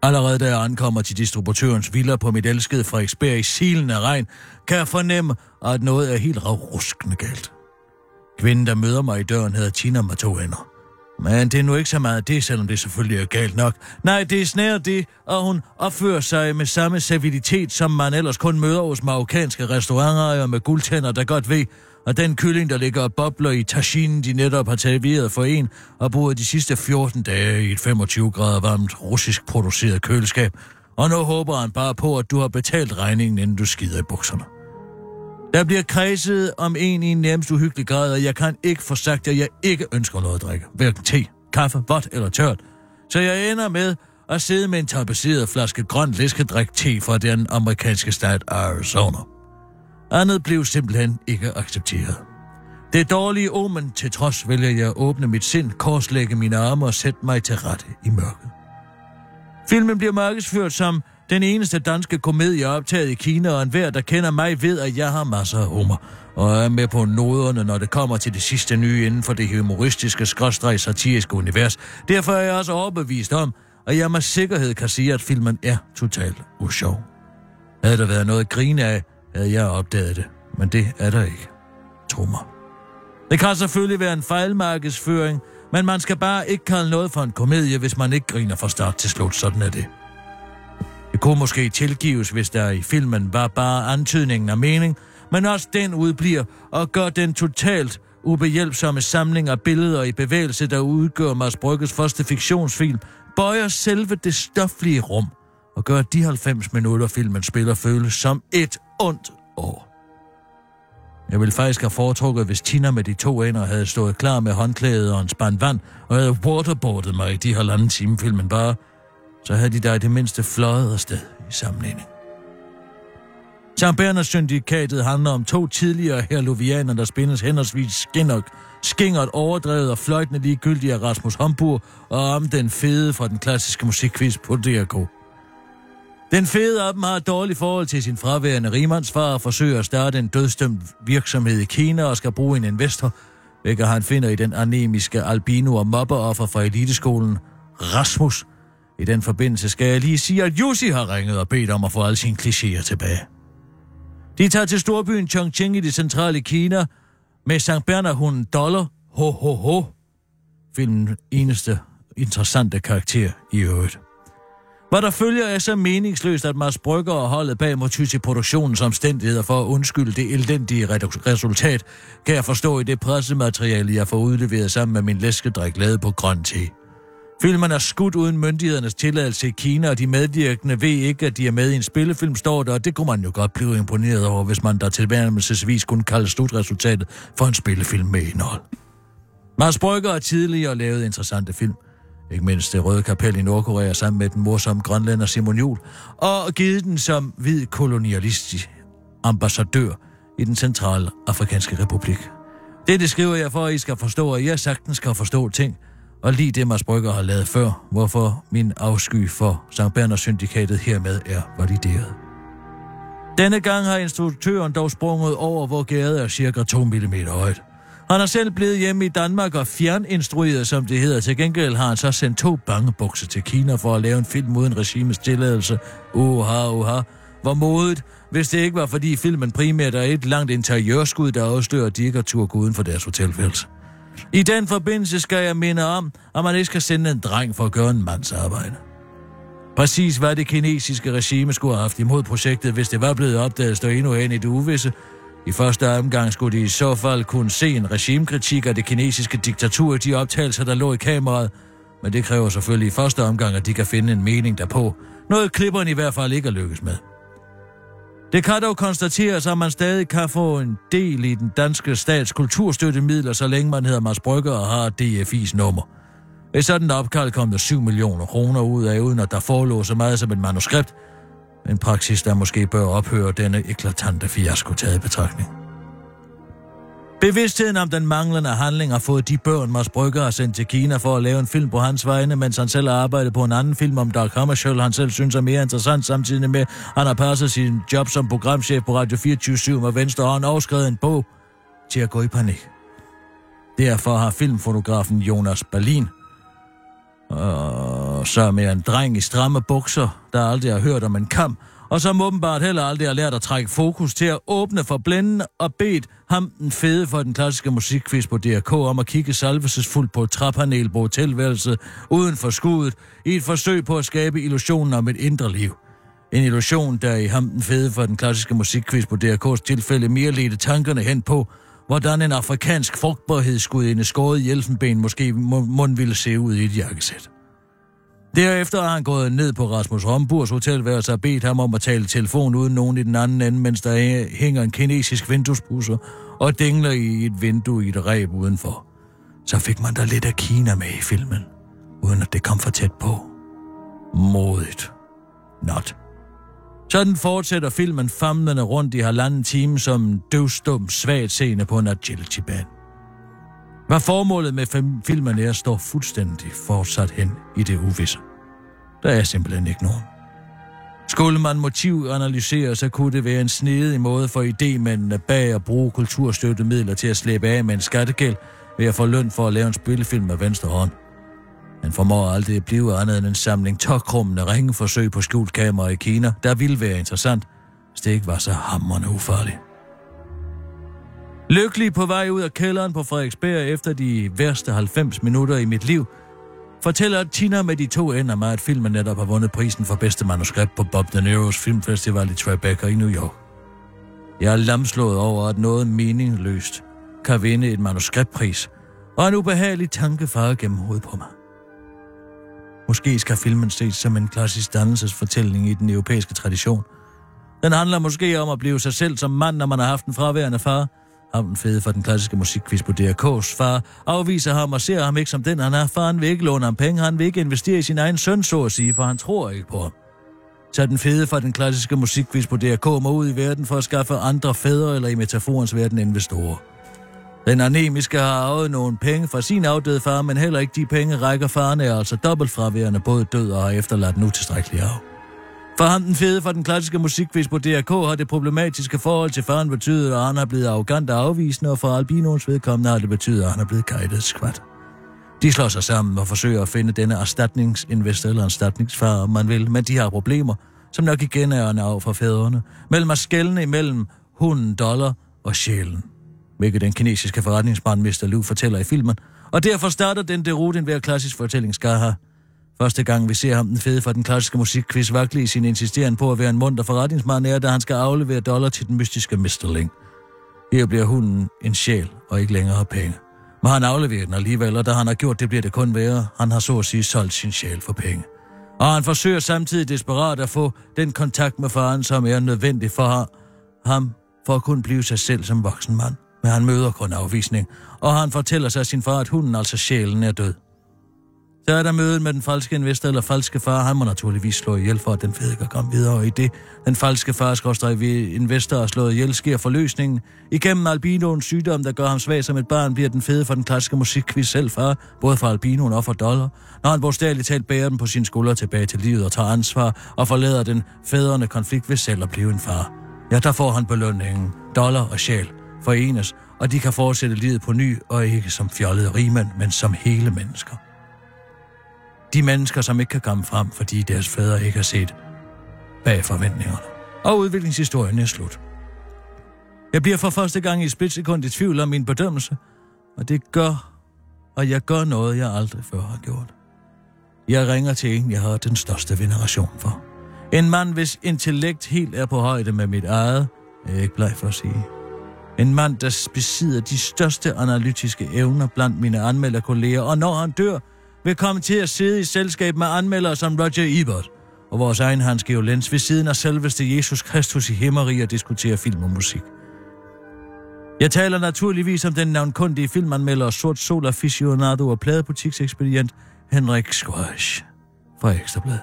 E: Allerede da jeg ankommer til distributørens villa på mit elskede Frederiksberg i silen af regn, kan jeg fornemme, at noget er helt ruskende galt. Kvinden, der møder mig i døren, hedder Tina med to hænder. Men det er nu ikke så meget det, selvom det selvfølgelig er galt nok. Nej, det er snære det, og hun opfører sig med samme servilitet, som man ellers kun møder hos marokkanske restauranter med guldtænder, der godt ved, at den kylling, der ligger og bobler i taginen, de netop har serveret for en, og boet de sidste 14 dage i et 25 grader varmt russisk produceret køleskab. Og nu håber han bare på, at du har betalt regningen, inden du skider i bukserne. Der bliver kredset om en i en nærmest uhyggelig grad, og jeg kan ikke få sagt, at jeg ikke ønsker noget at drikke. Hverken te, kaffe, vådt eller tørt. Så jeg ender med at sidde med en tapaceret flaske grøn læskedrik te fra den amerikanske stat Arizona. Andet blev simpelthen ikke accepteret. Det dårlige omen til trods vælger jeg at åbne mit sind, korslægge mine arme og sætte mig til rette i mørket. Filmen bliver markedsført som den eneste danske komedie optaget i Kina, og enhver, der kender mig, ved, at jeg har masser af humor, og er med på noderne, når det kommer til det sidste nye inden for det humoristiske, skråstreg satiriske univers. Derfor er jeg også overbevist om, og jeg med sikkerhed kan sige, at filmen er totalt usjov. Havde der været noget at grine af, havde jeg opdaget det, men det er der ikke. Tro mig. Det kan selvfølgelig være en fejlmarkedsføring, men man skal bare ikke kalde noget for en komedie, hvis man ikke griner fra start til slut. Sådan er det. Det kunne måske tilgives, hvis der i filmen var bare antydningen af mening, men også den udbliver og gør den totalt ubehjælpsomme samling af billeder i bevægelse, der udgør Mads Brygges første fiktionsfilm, bøjer selve det stoflige rum og gør de 90 minutter, filmen spiller, føles som et ondt år. Jeg ville faktisk have foretrukket, hvis Tina med de to ender havde stået klar med håndklædet og en spand vand, og havde waterboardet mig i de halvanden time filmen bare, så havde de da i det mindste fløjet afsted i sammenligning. Sam Berners syndikatet handler om to tidligere herluvianer, der spændes henholdsvis Skinnock, skingert overdrevet og fløjtende ligegyldige af Rasmus Homburg, og om den fede fra den klassiske musikquiz på DRK. Den fede af dem har et dårligt forhold til sin fraværende rimandsfar og forsøger at starte en dødstømt virksomhed i Kina og skal bruge en investor, hvilket han finder i den anemiske albino og mobbeoffer fra eliteskolen, Rasmus. I den forbindelse skal jeg lige sige, at Jussi har ringet og bedt om at få alle sine klichéer tilbage. De tager til storbyen Chongqing i det centrale Kina med St. Bernard-hunden Dollar, ho, ho, ho. Filmen eneste interessante karakter i øvrigt. Hvad der følger er så meningsløst, at Mads Brygger og holdet bag må ty til produktionens omstændigheder for at undskylde det elendige redu- resultat, kan jeg forstå i det pressemateriale, jeg får udleveret sammen med min læskedrik lavet på grøn te. Filmen er skudt uden myndighedernes tilladelse i Kina, og de medvirkende ved ikke, at de er med i en spillefilm, står der, og det kunne man jo godt blive imponeret over, hvis man der tilværelsesvis kunne kalde slutresultatet for en spillefilm med indhold. Mads Brygger har tidligere lavet interessante film. Ikke mindst det Røde Kapel i Nordkorea sammen med den morsomme grønlænder Simon Jul, og givet den som hvid kolonialistisk ambassadør i den centrale afrikanske republik. Det, det skriver jeg for, at I skal forstå, at jeg sagtens kan forstå ting, og lige det, Mads Brygger har lavet før, hvorfor min afsky for St. Berners syndikatet hermed er valideret. Denne gang har instruktøren dog sprunget over, hvor gæret er cirka 2 mm højt. Han er selv blevet hjemme i Danmark og fjerninstrueret, som det hedder. Til gengæld har han så sendt to bangebukser til Kina for at lave en film uden regimes tilladelse. Uha, uha. Hvor modigt, hvis det ikke var fordi filmen primært er et langt interiørskud, der afslører, at de ikke har turgået uden for deres hotelværelse. I den forbindelse skal jeg minde om, at man ikke skal sende en dreng for at gøre en mands arbejde. Præcis hvad det kinesiske regime skulle have haft imod projektet, hvis det var blevet opdaget, står endnu hen i det uvisse. I første omgang skulle de i så fald kunne se en regimekritik af det kinesiske diktatur i de optagelser, der lå i kameraet. Men det kræver selvfølgelig i første omgang, at de kan finde en mening derpå. Noget klipperen i hvert fald ikke er lykkes med. Det kan dog konstateres, at man stadig kan få en del i den danske stats kulturstøttemidler, så længe man hedder Mads Brygger og har DFI's nummer. Et sådan opkald kom der 7 millioner kroner ud af, uden at der forelå så meget som et manuskript. En praksis, der måske bør ophøre denne eklatante fiasko taget i betragtning. Bevidstheden om den manglende handling har fået de børn, Mads Brygger har sendt til Kina for at lave en film på hans vegne, mens han selv har arbejdet på en anden film om Dark Hammarskjöld, han selv synes er mere interessant, samtidig med, at han har passet sin job som programchef på Radio 24 med venstre hånd og skrevet en bog til at gå i panik. Derfor har filmfotografen Jonas Berlin og så med en dreng i stramme bukser, der aldrig har hørt om en kamp, og som åbenbart heller aldrig har lært at trække fokus til at åbne for blænden og bedt ham den fede for den klassiske musikquiz på DRK om at kigge salvelsesfuldt på et træpanel på hotelværelset uden for skuddet i et forsøg på at skabe illusionen om et indre liv. En illusion, der i ham den fede for den klassiske musikquiz på DRK's tilfælde mere ledte tankerne hen på, hvordan en afrikansk frugtbarhedsgudinde skåret i elfenben måske mon mon ville se ud i et jakkesæt. Derefter har han gået ned på Rasmus Romburs hotelværelse og bedt ham om at tale i telefon uden nogen i den anden ende, mens der hæ- hænger en kinesisk vinduespusser og dingler i et vindue i et ræb udenfor. Så fik man da lidt af Kina med i filmen, uden at det kom for tæt på. Modigt. Not. Sådan fortsætter filmen famlende rundt i halvanden time som en døvstum svagt scene på en agility-band. Hvad formålet med fem- filmen er, står fuldstændig fortsat hen i det uvisse. Der er simpelthen ikke nogen. Skulle man motiv analysere, så kunne det være en snedig måde for idémændene bag at bruge kulturstøttemidler til at slippe af med en skattegæld ved at få løn for at lave en spillefilm med venstre hånd. Den formår aldrig at blive andet end en samling tokrummende ringeforsøg på skjult kamera i Kina, der ville være interessant, hvis det ikke var så hammerende ufarligt. Lykkelig på vej ud af kælderen på Frederiksberg efter de værste 90 minutter i mit liv, fortæller Tina med de to ender mig, at filmen netop har vundet prisen for bedste manuskript på Bob De Niro's filmfestival i Tribeca i New York. Jeg er lamslået over, at noget meningløst kan vinde et manuskriptpris, og en ubehagelig tanke farer gennem hovedet på mig. Måske skal filmen ses som en klassisk dannelsesfortælling i den europæiske tradition. Den handler måske om at blive sig selv som mand, når man har haft en fraværende far. Ham den fede fra den klassiske musikquiz på DRK's far afviser ham og ser ham ikke som den, han er. Faren vil ikke låne ham penge, han vil ikke investere i sin egen søn, så at sige, for han tror ikke på ham. Så den fede fra den klassiske musikquiz på DRK må ud i verden for at skaffe andre fædre eller i metaforens verden investorer. Den anemiske har arvet nogle penge fra sin afdøde far, men heller ikke de penge rækker faren er altså dobbelt fraværende både død og har efterladt en utilstrækkelig arv. For ham den fede fra den klassiske musikquiz på DRK har det problematiske forhold til faren betydet, at han er blevet arrogant og afvisende, og for albinoens vedkommende har det betydet, at han er blevet guidet skvat. De slår sig sammen og forsøger at finde denne erstatningsinvestor eller erstatningsfar, om man vil, men de har problemer, som nok igen er en arv fra fædrene, mellem at skælne imellem hunden dollar og sjælen hvilket den kinesiske forretningsmand Mr. Liu fortæller i filmen, og derfor starter den derute enhver klassisk fortælling skal have. Første gang vi ser ham den fede fra den klassiske musikquiz vakle i sin insisteren på at være en munter forretningsmand er, da han skal aflevere dollar til den mystiske Mr. Ling. Her bliver hunden en sjæl og ikke længere penge. Men han afleverer den alligevel, og da han har gjort det, bliver det kun værre. Han har så at sige solgt sin sjæl for penge. Og han forsøger samtidig desperat at få den kontakt med faren, som er nødvendig for ham, for at kunne blive sig selv som voksen mand men han møder kun afvisning, og han fortæller sig sin far, at hunden, altså sjælen, er død. Så er der mødet med den falske investor eller falske far. Han må naturligvis slå ihjel for, at den fede kan komme videre. Og i det, den falske far skorstræk ved investor og slået ihjel, sker forløsningen. Igennem albinoens sygdom, der gør ham svag som et barn, bliver den fede for den klassiske musikquiz selv far, både for albinoen og for dollar. Når han bogstaveligt talt bærer den på sine skuldre tilbage til livet og tager ansvar og forlader den fædrende konflikt ved selv at blive en far. Ja, der får han belønningen. Dollar og sjæl forenes, og de kan fortsætte livet på ny, og ikke som fjollede rigmænd, men som hele mennesker. De mennesker, som ikke kan komme frem, fordi deres fædre ikke har set bag forventningerne. Og udviklingshistorien er slut. Jeg bliver for første gang i et splitsekund i tvivl om min bedømmelse, og det gør, og jeg gør noget, jeg aldrig før har gjort. Jeg ringer til en, jeg har den største veneration for. En mand, hvis intellekt helt er på højde med mit eget, jeg er ikke bleg for at sige. En mand, der besidder de største analytiske evner blandt mine anmelderkolleger, og når han dør, vil komme til at sidde i selskab med anmeldere som Roger Ebert og vores egen Hans Georg Lenz ved siden af selveste Jesus Kristus i himmeri og diskutere film og musik. Jeg taler naturligvis om den navnkundige filmanmelder og sort sol aficionado og pladebutiksekspedient Henrik Squash fra Ekstrabladet.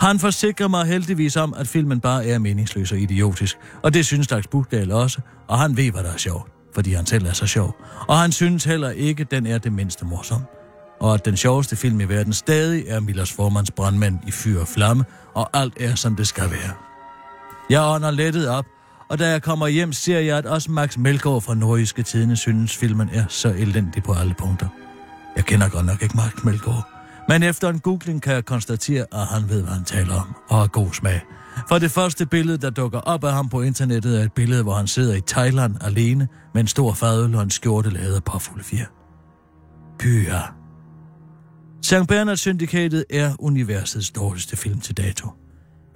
E: Han forsikrer mig heldigvis om, at filmen bare er meningsløs og idiotisk, og det synes Dags Bugdal også, og han ved, hvad der er sjovt, fordi han selv er så sjov. Og han synes heller ikke, den er det mindste morsom. Og at den sjoveste film i verden stadig er Millers formands brandmand i fyr og flamme, og alt er, som det skal være. Jeg ånder lettet op, og da jeg kommer hjem, ser jeg, at også Max Melgaard fra Nordiske Tidene synes, filmen er så elendig på alle punkter. Jeg kender godt nok ikke Max Melgaard, men efter en googling kan jeg konstatere, at han ved, hvad han taler om, og har god smag. For det første billede, der dukker op af ham på internettet, er et billede, hvor han sidder i Thailand alene med en stor fadøl og en skjorte lavet af påfulde fjer. Pyha. St. Bernard Syndikatet er universets dårligste film til dato.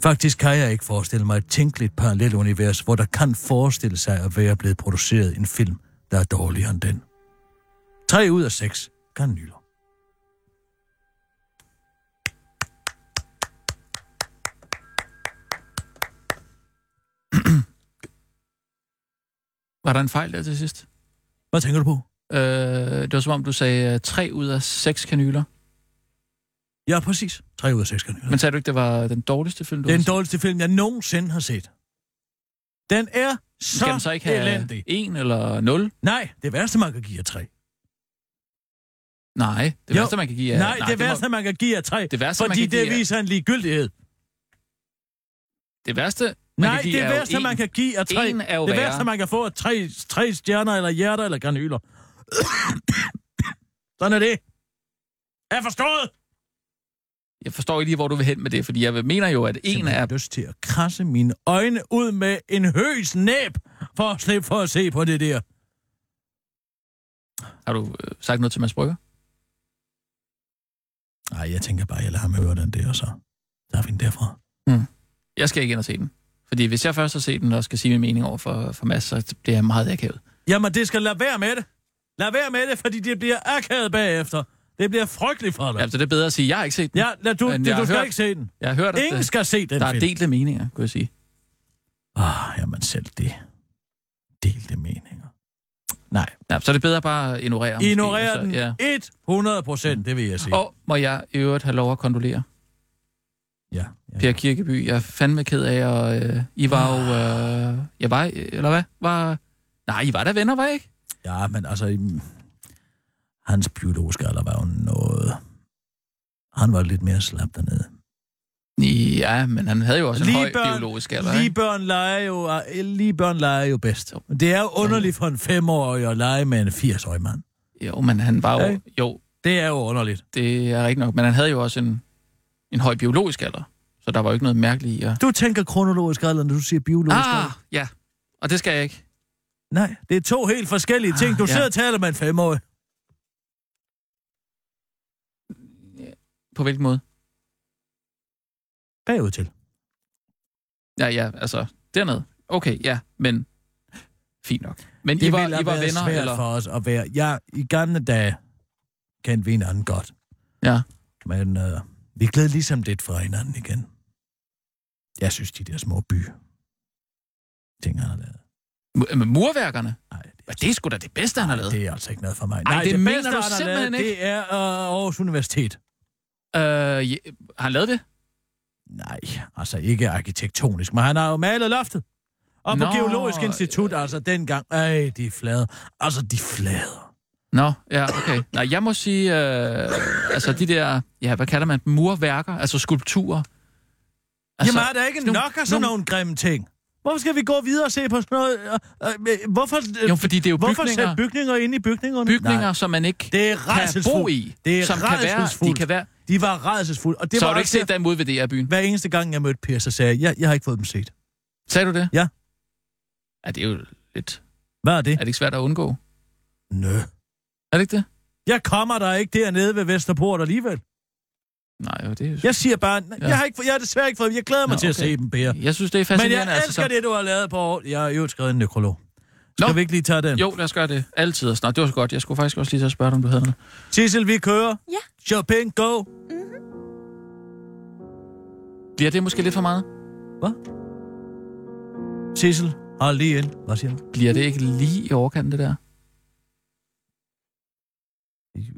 E: Faktisk kan jeg ikke forestille mig et tænkeligt parallelunivers, hvor der kan forestille sig at være blevet produceret en film, der er dårligere end den. 3 ud af 6 kanyler.
D: Var der en fejl der til sidst?
E: Hvad tænker du på?
D: Øh, det var som om, du sagde 3 ud af 6 kanyler.
E: Ja, præcis. 3 ud af 6 kanyler.
D: Men sagde du ikke, det var den dårligste film, du
E: Den
D: havde set?
E: dårligste film, jeg nogensinde har set. Den er så,
D: Skal den så ikke have
E: elendig.
D: 1 eller 0?
E: Nej, det værste, man kan give er tre.
D: Nej, det
E: Jo.
D: værste, man kan give
E: Ja,
D: er...
E: nej, nej, det
D: må-
E: værste, man kan give er tre.
D: Det værste, man
E: fordi
D: kan give
E: det
D: er-
E: viser en ligegyldighed.
D: Det værste, man kan
E: Nej,
D: give
E: det
D: er jo
E: værste,
D: en.
E: man kan give er tre.
D: En er jo
E: det
D: værre.
E: værste, man kan få er tre, tre stjerner, eller hjerter, eller granuler. Sådan er det. Er forstået?
D: Jeg forstår ikke lige, hvor du vil hen med det, fordi jeg mener jo, at en
E: Jeg
D: af...
E: har lyst til at krasse mine øjne ud med en høs næb, for at slippe for at se på det der.
D: Har du øh, sagt noget til Mads Brygger?
E: Nej, jeg tænker bare, jeg lader ham høre den der, og så tager vi den derfra.
D: Jeg skal ikke ind og se den. Fordi hvis jeg først har set den og skal sige min mening over for, for Mads, så bliver jeg meget akavet.
E: Jamen, det skal lade være med det. Lad være med det, fordi det bliver akavet bagefter. Det bliver frygteligt for
D: Ja,
E: dig.
D: så Altså, det er bedre at sige, at jeg har ikke set den.
E: Ja, lad du,
D: Men
E: det,
D: jeg
E: du
D: har
E: skal
D: hørt-
E: ikke se den.
D: Jeg har hørt, at
E: Ingen
D: øh,
E: skal se den
D: der er
E: film.
D: delte meninger, kunne jeg sige.
E: Ah, jamen selv det. Delte meninger. Nej.
D: Ja, så er det bedre bare at ignorere. måske,
E: Ignorer
D: altså,
E: den
D: Ja.
E: 100 procent, det vil jeg sige.
D: Og må jeg i øvrigt have lov at kondolere
E: Ja, ja.
D: Per Kirkeby. Jeg er fandme ked af, og øh, I var jo...
E: Ah.
D: Øh, jeg var... Eller hvad? Var, nej, I var da venner, var I ikke?
E: ja, men altså... mm, Hans biologiske alder var jo noget... Han var lidt mere slap dernede.
D: Ja, men han havde jo også en
E: Lige
D: høj
E: børn,
D: biologisk alder,
E: Lige
D: ikke?
E: børn leger jo, øh, lige børn leger jo bedst. Det er jo underligt for en femårig at lege med en 80-årig mand.
D: Jo, men han var jo...
E: Ja.
D: Jo,
E: Det er jo underligt.
D: det er rigtigt nok. Men han havde jo også en, en høj biologisk alder. Så der var jo ikke noget mærkeligt i at...
E: Du tænker kronologisk alder, når du siger biologisk
D: Ah,
E: alder.
D: ja. Og det skal jeg ikke.
E: Nej, det er to helt forskellige ting. Du
D: Ah, ja.
E: sidder og taler med en femårig.
D: På hvilken måde?
E: Bagud til.
D: Ja, ja, altså, dernede. Okay, ja, men... Fint nok. Men
E: Det
D: I var,
E: ville have
D: I var
E: været
D: venner,
E: svært
D: eller...
E: for os at være... Ja, i gamle dage kendte vi hinanden godt.
D: Ja.
E: Men øh, vi gled ligesom lidt fra hinanden igen. Jeg synes, de der små by ting, han har lavet.
D: Mu- Med murværkerne?
E: Nej, det
D: Men det er sgu da det bedste, han har lavet.
E: Det er altså ikke noget for mig.
D: Ej, det mener du
E: han har
D: simpelthen
E: lavet, Det er øh, Aarhus Universitet.
D: Øh, ja, har han lavet det?
E: Nej, altså ikke arkitektonisk, men han har jo malet loftet. Og på
D: Nå,
E: Geologisk Institut, altså dengang. Ej, de flader. Altså, de flader.
D: Nå, ja, okay. Nej, jeg må sige, øh, altså de der, ja, hvad kalder man dem? murværker, altså skulpturer.
E: Altså, Jamen, er der ikke
D: sådan
E: nok af sådan
D: nogle-
E: nogle grimme ting? Hvorfor skal vi gå videre og se på sådan noget? Øh, øh, hvorfor, øh,
D: Jo, fordi det er jo
E: hvorfor
D: bygninger,
E: sætte bygninger ind i bygningerne?
D: bygninger,
E: Nej,
D: som man ikke
E: det er
D: kan bo
E: rædselsfuldt.
D: i.
E: Det er
D: som kan være, de
E: rædselsfuldt.
D: kan være.
E: De var rædselsfulde. Og det
D: så
E: var
D: har du ikke
E: også
D: set dem ude ved DR-byen.
E: hver eneste gang, jeg mødte Per, så sagde jeg, jeg, jeg har ikke fået dem set.
D: Sagde du det?
E: Ja.
D: Ja, det er jo lidt...
E: Hvad er det?
D: Er det ikke svært at undgå?
E: Nø.
D: Er det ikke det?
E: Jeg kommer der ikke dernede ved Vesterport alligevel.
D: Nej, jo, det er jo...
E: Jeg siger bare, ja.
D: Ja.
E: jeg, har ikke, jeg har desværre ikke fået Jeg glæder mig
D: Nå,
E: til at
D: okay.
E: se dem, Per.
D: Jeg synes, det er
E: Men
D: fascinerende.
E: jeg elsker
D: altså, så-
E: det, du har lavet på år. Jeg har jo skrevet en nekrolog. Skal
D: Nå.
E: vi ikke lige tage den?
D: Jo, lad os gøre det. Altid. Nå, det var så godt. Jeg skulle faktisk også lige så spørge dig, om du havde noget.
E: Sissel, vi kører.
A: Ja.
E: Shopping, go.
D: Bliver det måske lidt for meget?
E: Sissel, hold lige ind. Hvad siger du?
D: Bliver det ikke lige i overkanten, det der?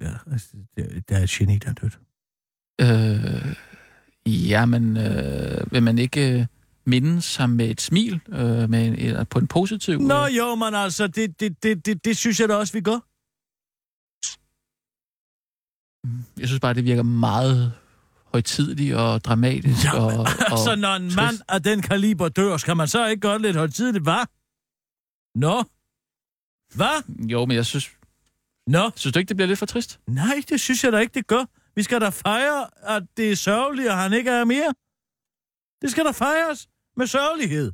E: Ja, altså, det- Der er et geni, der er dødt.
D: Øh, ja, men øh, vil man ikke øh, minde sig med et smil, øh, med en, eller på en positiv...
E: Nå
D: øh,
E: jo, men altså, det, det, det, det, det synes jeg da også, vi gør.
D: Jeg synes bare, det virker meget højtidligt og dramatisk.
E: Jamen,
D: og, og,
E: Altså, når en
D: trist.
E: mand af den kaliber dør, skal man så ikke gøre det lidt højtidligt, hva'? Nå? Hvad?
D: Jo, men jeg synes,
E: Nå?
D: synes du ikke, det bliver lidt for trist?
E: Nej, det synes jeg da ikke, det gør. Vi skal da fejre, at det er sørgeligt, og han ikke er mere. Det skal da fejres med sørgelighed.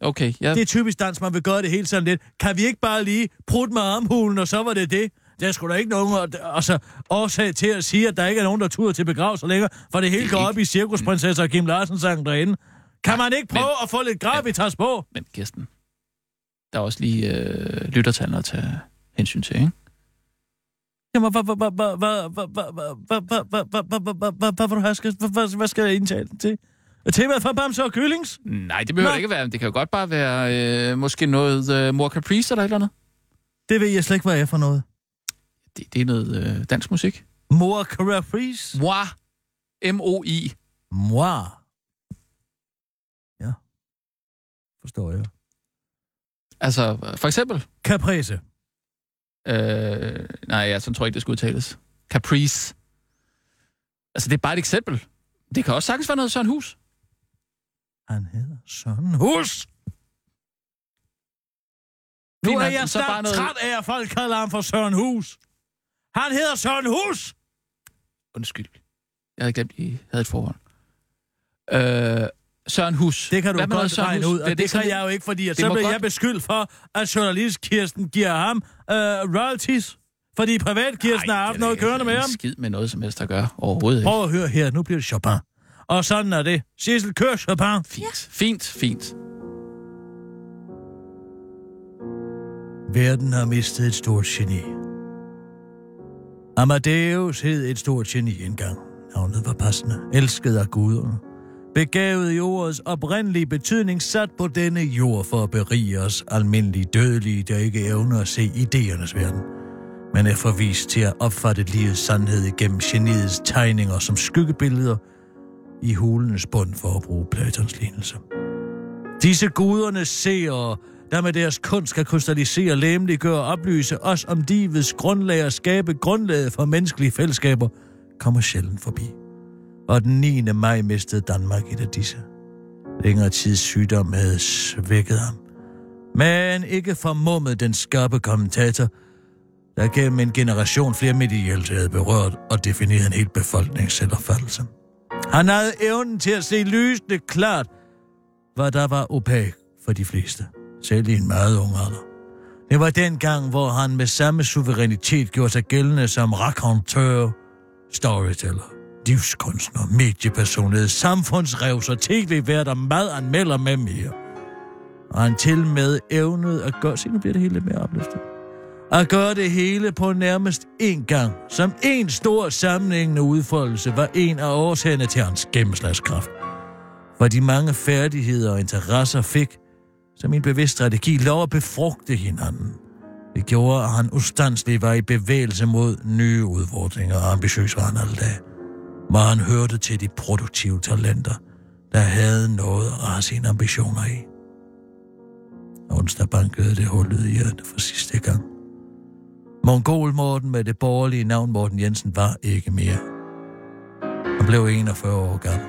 D: Okay, jeg,
E: Det er typisk dans, man vil gøre det hele sådan lidt. Kan vi ikke bare lige prutte med armhulen, og så var det det? Der er sgu da ikke nogen og, altså, årsag til at sige, at der ikke er nogen, der turer til begravelser længere, for det hele
D: Det er
E: går
D: ikke-
E: op i cirkusprinsesser og Kim Larsen-sangen derinde. Kan man ikke prøve
D: men-
E: at få lidt gravitas på?
D: men Kirsten, der er også lige øh, lyttertallene at tage hensyn til, ikke?
E: Jamen, hvad- hvad- hvad- hvad- hvad- hvad- hvad- hvad- hvad- hvad- hvad- hvad- hvad- hvad- hvad- hvad- hvad- hvad skal- hvad- hvad- hvad skal jeg indtale den til? Temaet for Bamse og Kyllings?
D: Nej, det behøver
E: Nå.
D: det ikke være. men Det kan jo godt bare være øh, måske noget øh, Mor Caprice eller et eller andet.
E: Det ved jeg slet ikke, hvad er for noget.
D: Det, det er noget øh, dansk musik.
E: Mor Caprice.
D: Moi. M-O-I.
E: Moi. Ja. Forstår jeg.
D: Altså, for eksempel...
E: Caprice.
D: Øh, nej, jeg sådan tror jeg ikke, det skal udtales. Caprice. Altså, det er bare et eksempel. Det kan også sagtens være noget Søren Hus.
E: Han hedder Søren Hus. Nu
D: Fint
E: er
D: nok, men
E: jeg
D: så
E: snart
D: bare noget-
E: træt af, at folk kalder ham for Søren Hus. Han hedder Søren Hus!
D: Undskyld. Jeg havde glemt, I havde et forhold. Øh, Søren Hus.
E: Det kan du
D: Hvad med noget
E: godt
D: Søren
E: regne
D: Hus?
E: ud, og det, det kan jeg jo ikke, fordi at
D: Det
E: så
D: må
E: bliver
D: godt-
E: jeg beskyldt for, at journalist Kirsten giver ham øh, royalties, fordi privat Kirsten har haft noget kørende med ham.
D: skid med noget som helst at gøre. Overhovedet ikke.
E: Prøv at høre her, nu bliver det Chopin. Og sådan er det. Sissel, kør Chopin.
D: Fint, fint, fint.
E: Verden har mistet et stort geni. Amadeus hed et stort geni engang. Navnet var passende, elsket af guderne. Begavet i ordets oprindelige betydning, sat på denne jord for at berige os almindelige dødelige, der ikke evner at se idéernes verden. Man er forvist til at opfatte livets sandhed igennem geniets tegninger som skyggebilleder i hulens bund for at bruge Platons lignelse. Disse guderne ser, der med deres kunst skal krystallisere, lemliggøre og oplyse os om livets grundlag og skabe grundlaget for menneskelige fællesskaber, kommer sjældent forbi. Og den 9. maj mistede Danmark et af disse. Længere tids sygdom havde svækket ham. Men ikke formummet den skarpe kommentator, der gennem en generation flere mediehjælp havde berørt og defineret en hel befolknings selvopfattelse. Han havde evnen til at se lysende klart, hvad der var opag for de fleste, selv i en meget ung alder. Det var den gang, hvor han med samme suverænitet gjorde sig gældende som raconteur, storyteller, livskunstner, mediepersonlighed, samfundsrevser, tv-værter, madanmelder med mere. Og han til med evnede at gøre... Se, nu bliver det hele lidt mere opløftet. At gøre det hele på nærmest én gang, som en stor sammenhængende udfoldelse, var en af årsagerne til hans gennemslagskraft hvor de mange færdigheder og interesser fik, som en bevidst strategi lov at befrugte hinanden. Det gjorde, at han ustandsligt var i bevægelse mod nye udfordringer, og ambitiøs var han alle dage. Hvor han hørte til de produktive talenter, der havde noget at have sine ambitioner i. Onsdag bankede det hullet i hjertet for sidste gang. Mongol Morten med det borgerlige navn Morten Jensen var ikke mere. Han blev 41 år gammel.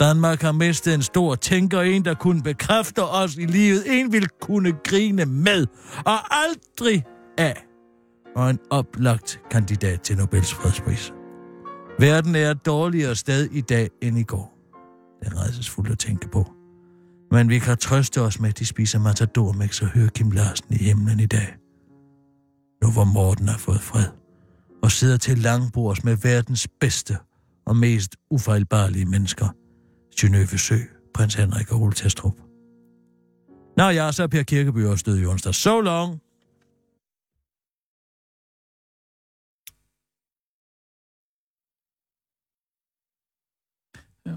E: Danmark har mistet en stor tænker, en der kunne bekræfte os i livet, en vil kunne grine med og aldrig af, og en oplagt kandidat til Nobels fredspris. Verden er et dårligere sted i dag end i går. Det er redselsfuldt at tænke på. Men vi kan trøste os med, at de spiser matadormix og hører Kim Larsen i himlen i dag. Nu hvor Morten har fået fred og sidder til langbords med verdens bedste og mest ufejlbarlige mennesker. Synøve Sø, prins Henrik og Ole Testrup. Nå ja, så er Per Kirkeby også død i onsdag. So long!
D: Ja.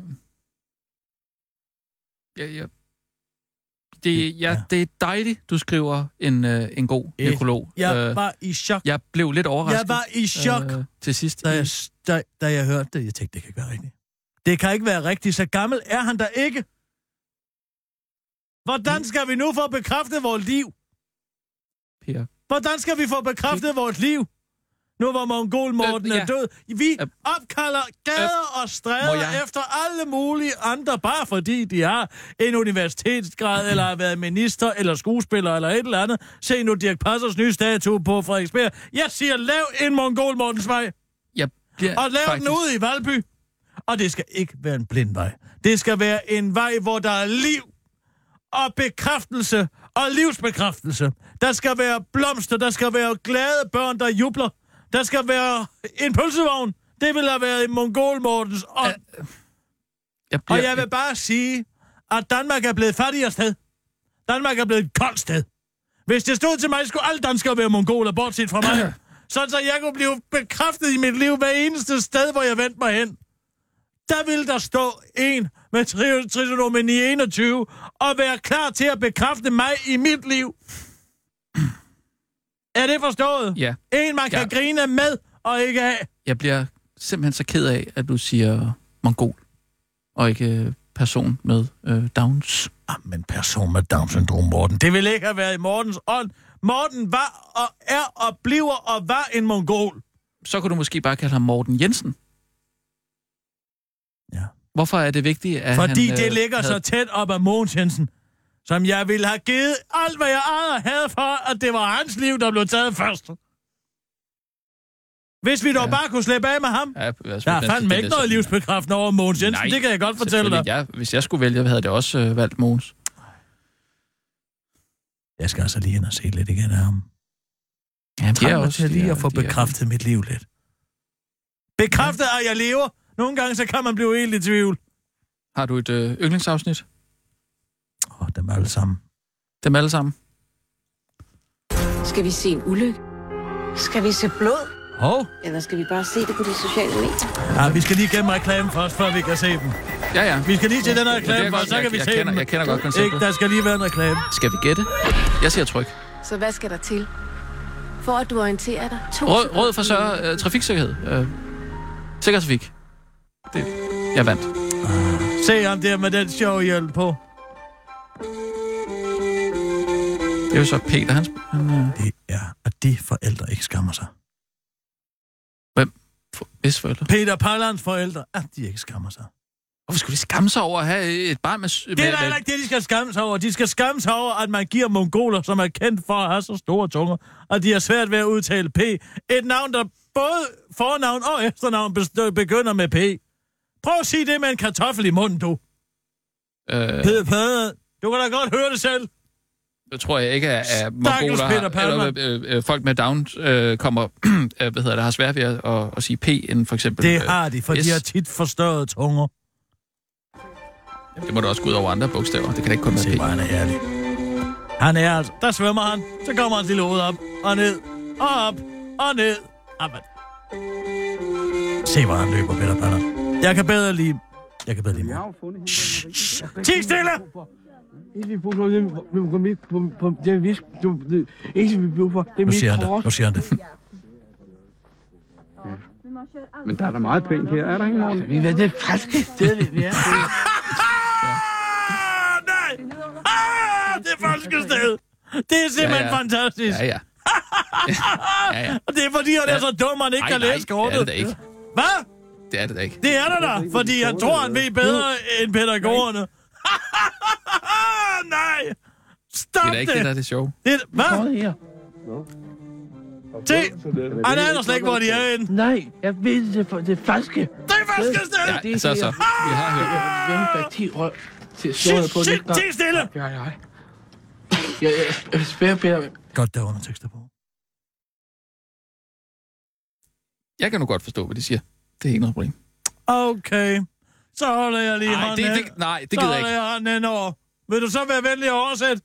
D: Ja, ja. Det, ja,
E: Ja.
D: ja. det er dejligt, du skriver en, øh, en god
E: Et-
D: nekrolog.
E: Jeg
D: Øh,
E: var i chok.
D: jeg blev lidt overrasket.
E: Jeg var i chok,
D: øh, til sidst.
E: da
D: i-
E: jeg, da, da jeg hørte det. Jeg tænkte, det kan ikke være rigtigt. Det kan ikke være rigtigt. Så gammel er han da ikke.
D: Mm.
E: Hvordan skal vi nu få bekræftet vores liv?
D: Per.
E: Hvordan skal vi få bekræftet vores liv? Nu hvor Mongol Morten
D: Øh,
E: er
D: ja.
E: død. Vi
D: Øh,
E: opkalder gader og
D: må
E: stræder
D: jeg?
E: efter alle mulige andre, bare fordi de har en universitetsgrad, eller har været minister, eller skuespiller, eller et eller andet. Se nu Dirk Passers nye statue på Frederiksberg. Jeg siger, lav en Mongol Mortens vej,
D: Jeg bliver
E: og lav
D: faktisk...
E: den ude i Valby. Og det skal ikke være en blind vej. Det skal være en vej, hvor der er liv og bekræftelse og livsbekræftelse. Der skal være blomster, der skal være glade børn, der jubler. Der skal være en pølsevogn. Det vil have været i Mongol Mortens ånd.
D: Jeg bliver,
E: Og jeg vil bare sige, at Danmark er blevet et fattigere sted. Danmark er blevet et koldt sted. Hvis det stod til mig, skulle alle danskere være mongoler, bortset fra mig. Sådan så jeg kunne blive bekræftet i mit liv hver eneste sted, hvor jeg vendte mig hen. Der ville der stå en med tri- trisonomi 21 og være klar til at bekræfte mig i mit liv. Er det forstået?
D: Ja,
E: En, man kan
D: Ja.
E: grine med og ikke af.
D: jeg bliver simpelthen så ked af, at du siger mongol, og ikke øh, person med øh, Downs.
E: Jamen, Ah, person med Down-syndrom, Morten. Det ville ikke have været i Mortens ånd. Morten var og er og bliver og var en mongol.
D: Så kunne du måske bare kalde ham Morten Jensen.
E: Ja.
D: Hvorfor er det vigtigt, at
E: Fordi
D: han... øh,
E: det ligger så tæt op ad Mogens Jensen, som jeg ville have givet alt, hvad jeg ejede og havde for, at det var hans liv, der blev taget først. Hvis vi dog ja. bare kunne slippe af med ham.
D: Ja, jeg er
E: Der er
D: næsten-
E: fandme
D: det
E: ikke
D: næsten-
E: noget livsbekræftende over Mogens Jensen,
D: Nej,
E: det kan jeg godt fortælle dig.
D: Selvfølgelig. Ja, hvis jeg skulle vælge, havde jeg det også øh, valgt Mogens.
E: Jeg skal altså lige ind og se lidt igen af ham.
D: Ja,
E: Jeg trænger til lige at få bekræftet mit liv lidt. Bekræftet, at jeg lever. Nogle gange så kan man blive helt i tvivl.
D: Har du et øh, yndlingsafsnit?
E: Åh, oh, dem alle sammen.
D: Dem alle sammen?
G: Skal vi se en ulykke? Skal vi se blod?
E: Hov.
G: Eller skal vi bare se det på de sociale medier?
E: Ah, vi skal lige gennem reklamen først, før vi kan se dem.
D: Ja, ja.
E: Vi skal lige til den her
D: Ja, det
E: reklame
D: er
E: først, så
D: godt.
E: kan vi
D: jeg,
E: se
D: jeg kender,
E: dem.
D: jeg kender godt
E: Ikke,
D: konceptet.
E: der skal lige være en reklame.
D: Skal vi gætte? Jeg siger tryk.
H: Så hvad skal der til? For at du orienterer dig. To
D: Råd,
H: sekunder.
D: råd for så øh, trafiksikkerhed. Øh, sikker trafik. Det, jeg vandt.
E: Se ham der med den sjove hjelm på.
D: Det er jo så Peter, han, sp- han øh,
E: Det er, at de forældre ikke skammer sig.
D: for- hvis forældre.
E: Peter Pallands forældre, at de ikke skammer sig.
D: Hvorfor skulle de skamme sig over at have et barn med... s-
E: Det
D: med-
E: er da heller
D: med-
E: ikke det, de skal skamme sig over. De skal skamme sig over, at man giver mongoler, som er kendt for at have så store tunger, og de har svært ved at udtale P. Et navn, der både fornavn og efternavn bestø- begynder med P. Prøv at sige det med en kartoffel i munden, du.
D: Øh,
E: Pede, pede. Du kan da godt høre det selv.
D: det tror jeg ikke, at, at
E: Stakkels
D: mongoler
E: Peter
D: har,
E: Palmer.
D: eller, øh, øh, folk med down øh, kommer, øh, hvad hedder det, har svært ved at, at, at sige P, end for eksempel... øh,
E: Det har de, for yes.
D: yes.
E: de har tit forstørret tunger.
D: Øh, det må da også gå ud over andre bogstaver. Det kan da ikke kun
E: Se,
D: være
E: hvor
D: P.
E: han er herlig. Han er altså. Der svømmer han. Så kommer hans lille hoved op og ned og op og ned. Op. Se, hvor han løber, Peter Patter. Jeg kan bedre lide... Jeg kan bedre lide mig. Ti stille!
I: Ikke vi bruger for dem, vi bruger mit, på, på, det er visk, du, det, ikke vi bruger for, det er
E: Nu
I: mit
E: siger han det.
I: kors.
E: Nu siger han det.
J: Men der er da meget pænt her, er der ikke, Morten?
I: Vi er det falske sted, vi er.
E: Ah, nej! Ah, det er falske sted! Det er simpelthen
D: Ja, ja.
E: fantastisk.
D: Ja, ja. ja, ja.
E: Og det er fordi, han er så dum, han ikke
D: Ej,
E: kan
D: nej,
E: læse kortet.
D: det er det da ikke.
E: Hvad?
D: Det er det da ikke.
E: Det er der da, fordi han tror, han ved bedre end pædagogerne. Nej!
D: Det
E: Stop
D: er da
E: det!
D: ikke det, der er det sjove.
E: Det er- Hvad? Se, han aner slet ikke, hvor de er henne.
I: Nej, jeg ved det for det falske.
E: Det er første sted!
D: Ja,
I: det
D: så,
I: her.
D: så. Vi har hørt.
I: Hvem der ti røv til
E: Shit,
I: stået på
E: shit,
I: det gang?
E: ti stille!
I: Ja, ja. Ja, ja, jeg spærer bedre.
E: Godt, der er undertekster på.
D: Jeg kan nu godt forstå, hvad de siger. Det er ikke noget problem.
E: Okay, så holder jeg lige
D: Nej,
E: hånden
D: det,
E: hen.
D: det, nej, det
E: Så
D: gider jeg
E: holder
D: ikke.
E: jeg hånden hen over. Vil du så være venlig at oversætte?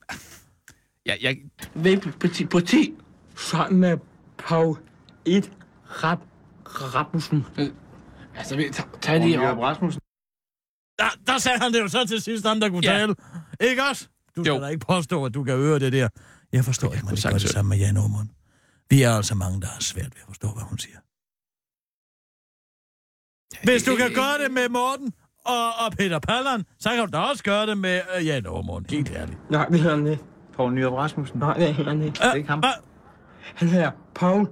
D: Jeg, jeg,
I: Hvem på ti, på ti? Sådan er Pau et rap, rapmusen. Altså, vi tager tag lige op.
E: Der, der sagde han det jo så til sidst, ham der kunne
D: Ja.
E: tale. Ikke også? Du skal
D: Jo.
E: da ikke påstå, at du kan høre det der. Jeg forstår ikke, man ikke gør
D: sagtens
E: det
D: høre
E: samme med Jan Aumund. Vi er altså mange, der har svært ved at forstå, hvad hun siger. Hvis du kan gøre det med Morten og, og Peter Pallan, så kan du da også gøre det med øh, Jan Aumund. Helt ærligt. Øh,
I: Nej, det hedder han ikke.
J: Poul Nyrup Rasmussen.
I: Nej, det hedder han ikke.
E: Det er
J: ikke ham.
I: Han hedder Paul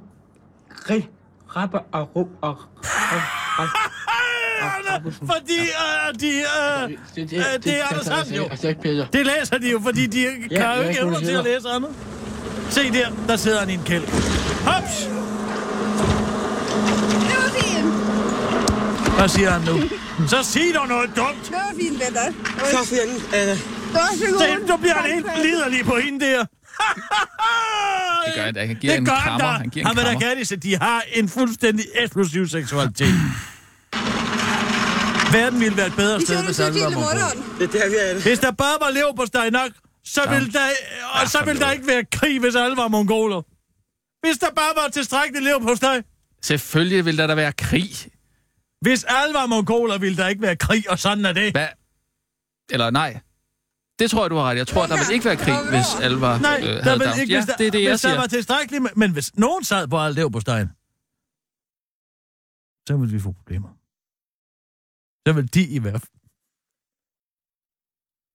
I: Rig Rapper og Ro og...
E: Fordi øh, de, øh, øh, det er Anders Sand, jo.
I: Altså ikke Peter.
E: Det læser de jo, fordi de
I: Ja,
E: kan jo
I: jeg
E: ikke
I: kunne
E: evner
I: det
E: til at læse andet. Se der, der sidder han i en kælk. Hops! Hvad siger han nu? Så sig dog noget dumt!
K: Det var fint, venner.
I: Tak for den. øh,
K: Det var så
E: Se, nu bliver han helt liderlig på hende der.
D: Det gør han da. Han giver en
E: han
D: krammer.
E: da.
D: Han
E: Han,
D: giver en
E: vil da
D: krammer.
E: gerne se, de har en fuldstændig eksplosiv seksualitet. Verden ville være et bedre
K: Vi
E: sted,
K: tog
E: hvis
K: til
E: alle var
K: hele
E: mongoler.
K: morgenen.
I: Det er der, vi er det.
E: Hvis der bare var lever på steg nok, så ville der, øh, og så ville der ikke være krig, hvis alle var mongoler. Hvis der bare var tilstrækkeligt lever på steg,
D: Selvfølgelig vil der da være krig.
E: hvis alle var mongoler, ville der ikke være krig, og sådan er det.
D: Hvad? Eller nej. Det tror jeg, du har ret. i. Jeg tror, der vil ikke være krig, hvis alle var
E: Nej,
D: øh, havde
E: der ville
D: Downs.
E: ikke,
D: Ja,
E: hvis der,
D: det er det, jeg
E: hvis der var
D: siger.
E: tilstrækkeligt, med- men hvis nogen sad på alt lever på stegen, så ville vi få problemer. Så ville de i hvert fald...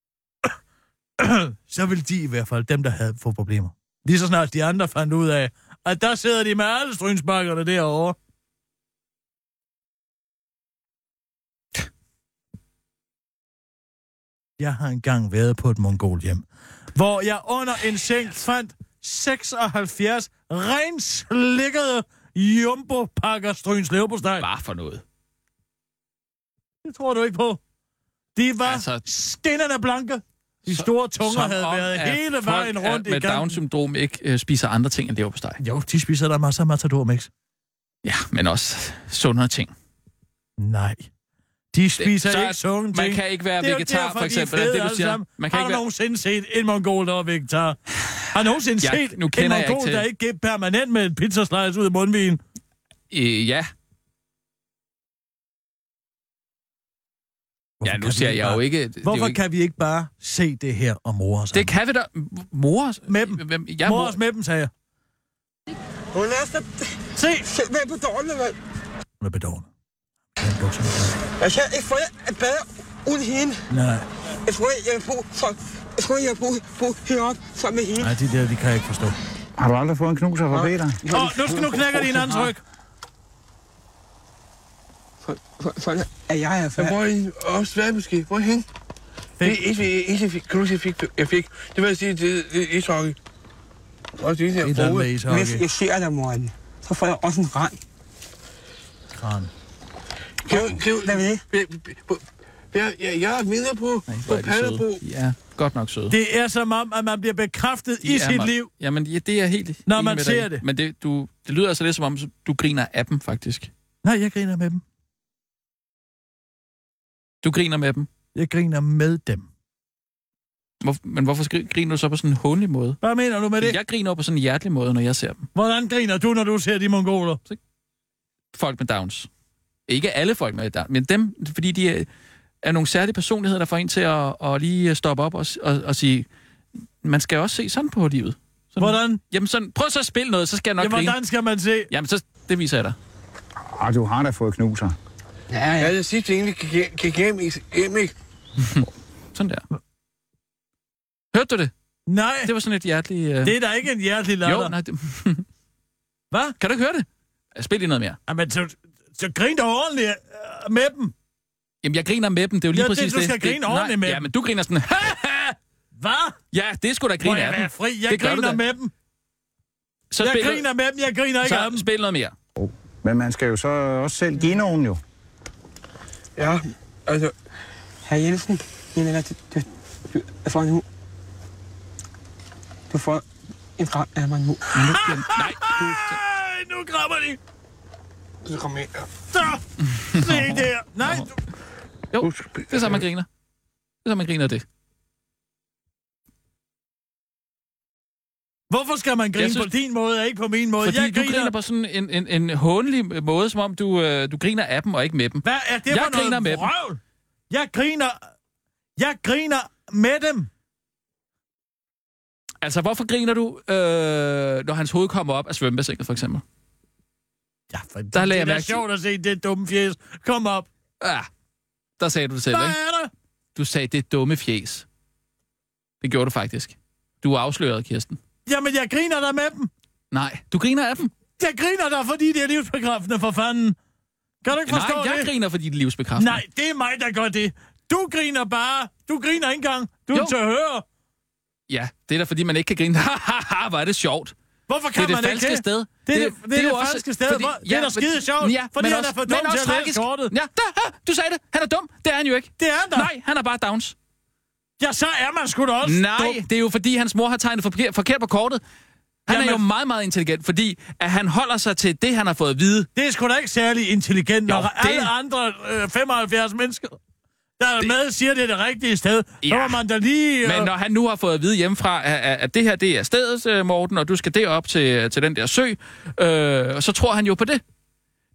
E: så ville de i hvert fald, dem der havde få problemer. Lige så snart de andre fandt ud af, at der sidder de med alle strynsbakkerne derovre. Jeg har engang været på et mongolhjem, hvor jeg under en seng fandt 76 renslikkede Jumbo pakker Stryns leverpostej.
D: Bare for noget.
E: Det tror du ikke på. De var
D: Altså-
E: altså, stinnerne blanke. De
D: Så-
E: store tunger
D: Som
E: havde
D: om,
E: været
D: at
E: hele
D: folk
E: vejen
D: er-
E: rundt i
D: med
E: gang.
D: Down-syndrom ikke øh, spiser andre ting end leverpostej.
E: Jo, de spiser der masser af matador, Mix.
D: Ja, men også sundere ting.
E: Nej. De spiser
D: så
E: det,
D: at
E: ikke sunde
D: Man
E: ting.
D: kan ikke være
E: Det er jo
D: vegetar,
E: derfor,
D: for eksempel.
E: De
D: Er det
E: er fede
D: det, du
E: alle
D: siger?
E: sammen.
D: Man kan
E: har
D: ikke
E: du
D: være...
E: nogensinde set en mongol, der var vegetar? Har du nogensinde
D: Jeg-
E: set
D: nu
E: en
D: kender jeg ikke
E: mongol,
D: til-
E: der ikke gik permanent med en pizzaslice ud i mundvigen?
D: Øh, ja. Ja, nu ser jeg jo ikke... det er jo
E: Hvorfor
D: ikke...
E: kan vi ikke bare se det her og more os?
D: Det kan vi da... Mor?
E: Med dem.
D: Hvem-
E: Ja,
D: Ja,
E: mor
D: mor.
E: os med dem, sagde jeg.
J: Hun er så
E: Se!
J: simpelthen på dårlig, mand.
E: Hun er bedårende. Den bukser med dig.
J: Altså, Jeg kan ikke få at bade uden hende.
E: Nej,
J: Jeg tror, jeg har brug for... Jeg tror, jeg har brug, brug heroppe sammen med hende.
E: nej, de der, de kan jeg ikke forstå.
J: Har du aldrig fået en knuser fra Peter?
E: Åh, nu, skal- nu knækker de en anden tryk.
J: Sådan er jeg i hvert fald.
I: Hvor er I? Også svært måske. Hvor er I henne? Det eneste, eneste fik, knus, jeg fik, jeg fik, det var at sige, det det er ishockey. Og det er
E: Et eller andet med ishockey.
J: Hvis jeg ser dig, morgen, så får jeg også en rand.
E: Kran.
I: Kan, kan,
J: Hvad ved I?
I: jeg, jeg, jeg, jeg er mindre på,
D: Nej, hvor
I: på
D: er de
I: Paderbo.
D: søde. De er godt nok søde.
E: Det er som om, at man bliver bekræftet
D: De
E: i
D: er
E: sit
D: mig-
E: liv.
D: Jamen, ja, det er helt...
E: Når
D: enig
E: man
D: med dig
E: ser
D: i.
E: det.
D: Men det, du, det lyder altså lidt som om, du griner af dem, faktisk.
E: Nej, jeg griner med dem.
D: Du griner med dem.
E: Jeg griner med dem.
D: Hvor, men hvorfor skri- griner du så på sådan en håndelig måde?
E: Hvad mener du med det?
D: Jeg griner på sådan en hjertelig måde, når jeg ser dem.
E: Hvordan griner du, når du ser de mongoler?
D: Folk med Downs. Ikke alle folk med Downs, men dem, fordi de er, er nogle særlige personligheder, der får en til at, at lige stoppe op og, s- og, og sige, man skal også se sådan på livet. Sådan.
E: Hvordan?
D: Jamen sådan, prøv så at spille noget, så skal jeg nok
E: Ja,
D: Jamen, grine.
E: hvordan skal man se?
D: Jamen så, det viser jeg dig.
J: Ah, du har da fået knuser.
I: Ja, ja. Jeg sidste egentlig gik- gik hjem, ikke- hjem, ikke?
D: Sådan der. Hørte du det?
E: Nej,
D: Det var sådan et hjerteligt... Øh...
E: det er da ikke en hjertelig
D: jo,
E: latter.
D: nej. Det...
E: Hvad?
D: Kan du ikke høre det? Spil lige noget mere.
E: Jamen, så, så grin dog ordentligt øh, med dem.
D: Jamen, jeg griner med dem, det er jo lige
E: Ja, det-
D: præcis
E: du
D: det.
E: skal grine
D: nej,
E: ordentligt med
D: Ja,
E: dem.
D: men du griner sådan, "Haha!"
E: Hvad?
D: ja, det skulle da
E: Må
D: grine
E: jeg
D: af
E: være
D: dem.
E: fri? Jeg
D: Det gør du
E: griner
D: da.
E: med dem.
D: Så
E: Jeg
D: spil,
E: griner med dem, jeg griner ikke af
D: så
E: dem.
D: spil noget mere.
J: Men man skal jo så også selv give nogen jo.
I: Ja, altså...
J: Herr Jensen, jeg mener, du, du, du, jeg får en hund. Du får en rand af mig nu.
D: Nej,
E: Ej, nu krammer de.
I: Så kom ind. ja.
E: Så, se der. Nej, du,
D: det er så, man griner. Det er så, man griner af det.
E: hvorfor skal man grine
D: Jeg synes-
E: på din måde og ikke på min måde?
D: Fordi
E: jeg
D: du griner på sådan en, en, en håndelig måde, som om du, øh, du griner af dem og ikke med dem.
E: Hvad er det
D: Jeg
E: for
D: griner
E: noget
D: med dem.
E: vrøvl? Jeg griner... Jeg griner med dem.
D: Altså, hvorfor griner du, øh, når hans hoved kommer op af svømmebassinet, for eksempel?
E: Ja, for
D: Der lagde jeg
E: det er da
D: mærke til-
E: sjovt at se det dumme fjes. Kom op.
D: Ja, Ah, der sagde du det selv,
E: Hvad
D: ikke?
E: er det?
D: Du sagde, det dumme fjes. Det gjorde du faktisk. Du er afsløret, Kirsten.
E: Jamen, jeg griner der med dem.
D: Nej, du griner af dem.
E: Jeg griner der, fordi det er livsbekræftende for fanden. Kan du ikke
D: Nej,
E: forstå
D: jeg
E: det?
D: griner for dit livsbekræftende.
E: Nej, det er mig, der gør det. Du griner bare. Du griner ikke engang. Du er
D: Jo.
E: til at høre.
D: Ja, det er da, fordi man ikke kan grine. Haha, hvor er det sjovt.
E: Hvorfor
D: Det
E: kan
D: er det
E: man ikke
D: falske sted.
E: Det er det, det, det, er det falske sted. Fordi, det er da skide sjovt, ja, fordi
D: men
E: han
D: også-
E: er for
D: men
E: dum til
D: også
E: at læse
D: tragisk.
E: kortet.
D: Ja, der, ah, du sagde det. Han er dum. Det er han jo ikke.
E: Det er han da.
D: Nej, han er bare Downs.
E: Ja, så er man sgu da også
D: Nej,
E: dum.
D: det er jo fordi, hans mor har tegnet forkert, forkert på kortet. Han
E: Jamen-
D: er jo meget, meget intelligent, fordi at han holder sig til det, han har fået at vide.
E: Det er sgu da ikke særlig intelligent, når
D: Jo,
E: det...
D: det-
E: alle andre øh, 75 mennesker, der er med, siger, det er det rigtige sted. Ja. Så
D: Ja.
E: var man da lige... Øh,
D: Men når han nu har fået at vide hjemmefra, at, at- at det her det er stedet, øh, Morten, og du skal derop til, til den der sø, øh, så tror han jo på det.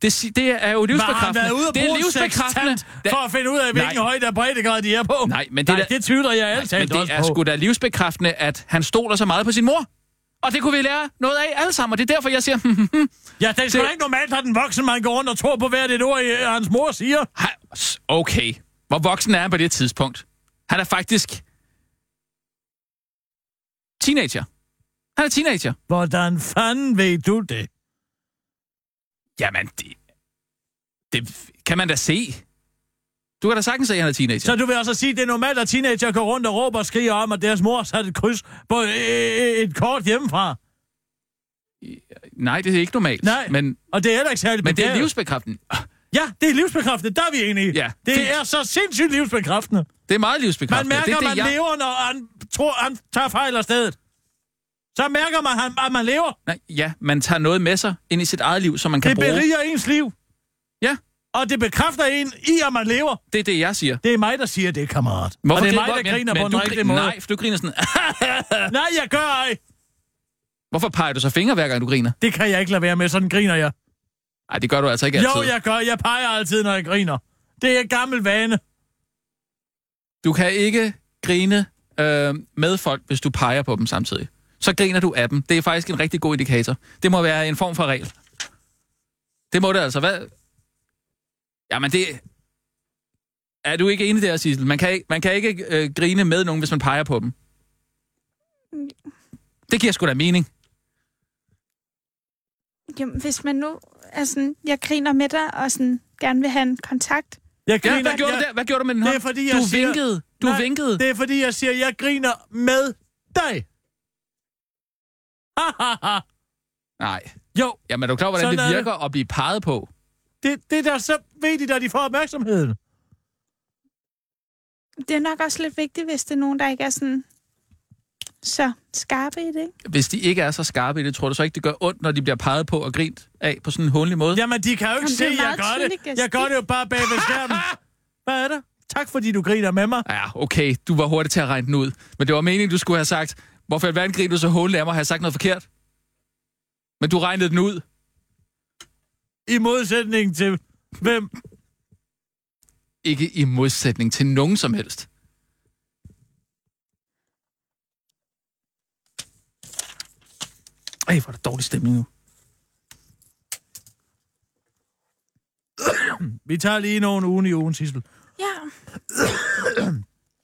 D: Det, si- det er jo
E: var han
D: livsbekræftende.
E: været ude og
D: det er
E: bruge en
D: livsbekræftende.
E: sextant for at finde ud af, hvilken
D: Nej.
E: højde og breddegrad de er på?
D: Nej, men det
E: Nej,
D: er da-
E: det tvivler jeg altid
D: Men det
E: også
D: er
E: på.
D: sgu da livsbekræftende, at han stoler så meget på sin mor. Og det kunne vi lære noget af alle sammen, og det er derfor, jeg siger,
E: Ja, det er sgu
D: det-
E: da ikke normalt, at den voksne man går rundt og tror på hvert et ord, øh, hans mor siger.
D: "Ha- s- okay, hvor voksen er han på det tidspunkt? Han er faktisk teenager. Han er teenager.
E: Hvordan fanden ved du det?
D: Jamen, det, det kan man da se. Du kan da sagtens se, at han er teenager.
E: Så du vil altså sige, at det er normalt, at teenager går rundt og råber og skriger om, at deres mor satte et kryds på øh, øh, et kort hjemmefra?
D: nej, det er ikke normalt.
E: Nej.
D: Men,
E: Og det er heller ikke særlig
D: men det er
E: begavet.
D: livsbekræftende.
E: Ja, det er livsbekræftende, der er vi enige.
D: Ja,
E: det
D: fint.
E: er så sindssygt livsbekræftende.
D: Det er meget
E: Man
D: livsbekræftende.
E: mærker,
D: det er det,
E: man
D: jeg...
E: lever, når han, tror, han tager fejl af stedet. Så mærker man, han- at man lever.
D: Nej, ja, man tager noget med sig ind i sit eget liv, som man kan
E: Det
D: bruge.
E: beriger ens liv.
D: Ja.
E: Og det bekræfter en i, at man lever.
D: Det er det, jeg siger.
E: Det er mig, der siger det, kammerat.
D: Hvorfor
E: og det er
D: hvor-
E: mig, der griner på den
D: du
E: rigtige
D: grin-
E: måde.
D: Nej, for du griner sådan... "Ah!"
E: Nej, jeg gør ej.
D: Hvorfor peger du så fingre, hver gang du griner?
E: Det kan jeg ikke lade være med, sådan griner jeg.
D: Nej, det gør du altså ikke altid.
E: Jo, jeg gør. Jeg peger altid, når jeg griner. Det er en gammel vane.
D: Du kan ikke grine øh, med folk, hvis du peger på dem samtidig. Så griner du af dem. Det er faktisk en rigtig god indikator. Det må være en form for regel. Det må det altså. Hvad? Jamen det... Er du ikke enig der, Sissel? Man kan ikke, man kan ikke øh, grine med nogen, hvis man peger på dem. Det giver sgu da mening.
A: Jamen, hvis man nu er sådan, jeg griner med dig, og sådan gerne vil have en kontakt.
E: Jeg
D: Ja,
E: griner,
D: hvad, gjorde
E: jeg,
D: du der? hvad gjorde du med den
E: Det er
D: hånd?
E: fordi,
D: du
E: jeg siger-
D: vinkede. Du
E: Nej,
D: vinkede.
E: Det er fordi, jeg siger, jeg griner med dig. Ha, ha, ha.
D: Nej.
E: Jo,
D: Jamen, er du klar, over, hvordan
E: Sådan er
D: det
E: det.
D: virker at blive peget på?
E: det, det er der så ved de, da de får opmærksomheden.
A: Det er nok også lidt vigtigt, hvis det er nogen, der ikke er sådan så skarpe i det. ikke?
D: hvis de ikke er så skarpe i det, tror du så ikke, det gør ondt, når de bliver peget på og grint af på sådan en håndelig måde?
E: Jamen, de kan jo ikke
A: Jamen, det
E: se,
A: er
E: jeg
A: meget
E: gør
A: tydeligt,
E: det.
A: jeg
E: Jeg gør det jo bare bag ved skærmen. Hvad er det? Tak, fordi du griner med mig.
D: Ja, okay, du var hurtig til at regne den ud. Men det var meningen, du skulle have sagt, hvorfor i alverden griner du så håndelig af mig, har jeg sagt noget forkert? Men du regnede den ud.
E: I modsætning til hvem?
D: Ikke i modsætning til nogen som helst. Ej, hvor er der dårlig stemning nu.
E: Vi tager lige nogle ugen i ugen, Sissel.
A: Ja.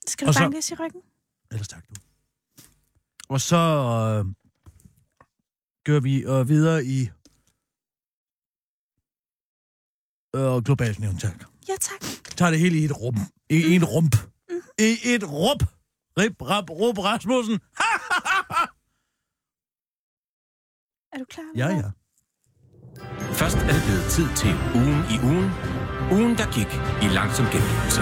A: Skal du
E: Og så-
A: bankes i ryggen?
E: Ellers tak, du. Og så øh, gør vi øh, videre i øh, globalt nævnt, tak.
A: Ja, tak.
E: Tager det hele i et rum. I en rump. I et rump. Rip, rap, rup, Rasmussen.
A: Er du klar?
E: Ja, ja.
F: Først er det blevet tid til ugen i ugen. Ugen, der gik i langsom gengivelse.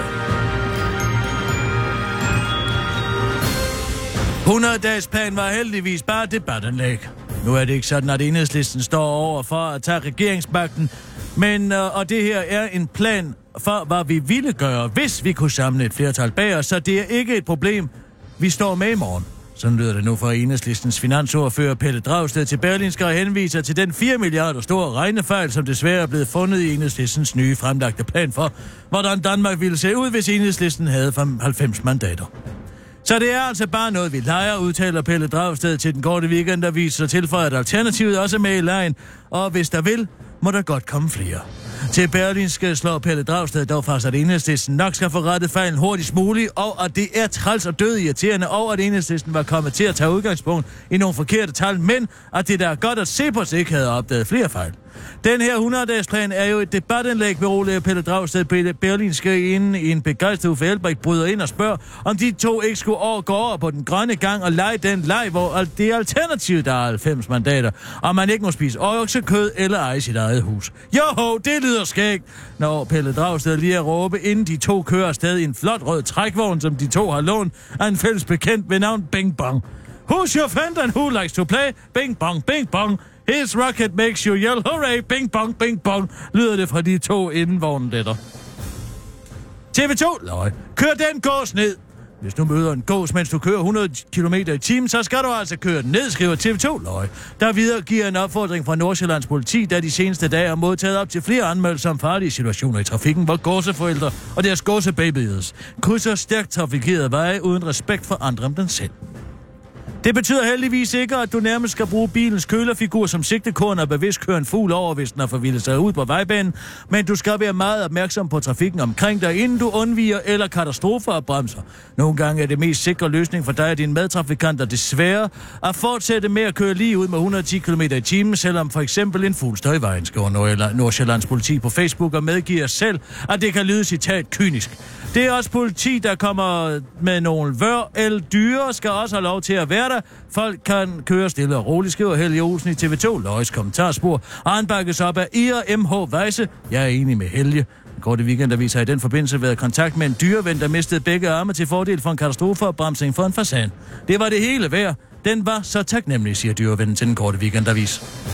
E: 100-dagsplanen var heldigvis bare et debatanlæg. Nu er det ikke sådan, at enhedslisten står over for at tage regeringsmagten, men, øh, og det her er en plan for, hvad vi ville gøre, hvis vi kunne samle et flertal bag os, så det er ikke et problem. Vi står med i morgen. Sådan lyder det nu fra enhedslistens finansordfører Pelle Dragsted til Berlinske og henviser til den 4 milliarder store regnefejl, som desværre er blevet fundet i enhedslistens nye fremlagte plan for, hvordan Danmark ville se ud, hvis enhedslisten havde 90 mandater. Så det er altså bare noget, vi leger, udtaler Pelle Dragsted til den korte weekendavis, og tilføjer, at alternativet også er med i lejen, og hvis der vil, må der godt komme flere. Til Berlinske slår Pelle Dragsted dog fast, at enhedslisten nok skal få rettet fejlen hurtigst muligt, og at det er træls og død irriterende, og at enhedslisten var kommet til at tage udgangspunkt i nogle forkerte tal, men at det der er godt at Cepos ikke havde opdaget flere fejl. Den her 100-dagsplan er jo et debatindlæg, beroliger Pelle Dragsted Be- Berlinske, inden en begejstret Uffe Elbæk bryder ind og spørger, om de to ikke skulle over, gå over på den grønne gang og lege den leg, hvor al- det er alternativ, der er 90 mandater, og man ikke må spise oksekød eller eje sit eget hus. Joho, det lyder skægt, når Pelle Dragsted lige er råbe, inden de to kører afsted i en flot rød trækvogn, som de to har lånt af en fælles bekendt ved navn Bing Bong. Who's your friend and who likes to play? Bing bong, bing bong. His rocket makes you yell hooray, bing bong, bing bong, lyder det fra de to inden vognen letter. TV2, løg. Kør den gås ned. Hvis du møder en gås, mens du kører 100 km i timen, så skal du altså køre den ned, skriver TV2 Løg. Der videregiver en opfordring fra Nordsjællands politi, der de seneste dage har modtaget op til flere anmeldelser om farlige situationer i trafikken, hvor gåseforældre og deres gåsebabies krydser stærkt trafikerede veje uden respekt for andre end den selv. Det betyder heldigvis ikke, at du nærmest skal bruge bilens kølerfigur som sigtekorn og bevidst køre en fugl over, hvis den har forvildet sig ud på vejbanen, men du skal være meget opmærksom på trafikken omkring dig, inden du undviger eller katastrofer og bremser. Nogle gange er det mest sikre løsning for dig og dine medtrafikanter desværre at fortsætte med at køre lige ud med 110 km i timen, selvom for eksempel en fugl står i vejen, skriver Nordjylland- Nordsjællands politi på Facebook og medgiver selv, at det kan lyde citat kynisk. Det er også politi, der kommer med nogle vør el dyre, skal også have lov til at være lørdag. Folk kan køre stille og roligt, skriver Helge Olsen i TV2. Løjes kommentarspor. Og han bakkes op af Ira M.H. Weisse. Jeg er enig med Helge. Korte weekendavis har i den forbindelse været i kontakt med en dyreven, der mistede begge arme til fordel for en katastrofeopbremsning for en fasan. Det var det hele værd. Den var så taknemmelig, siger dyrevennen til den korte weekendavis.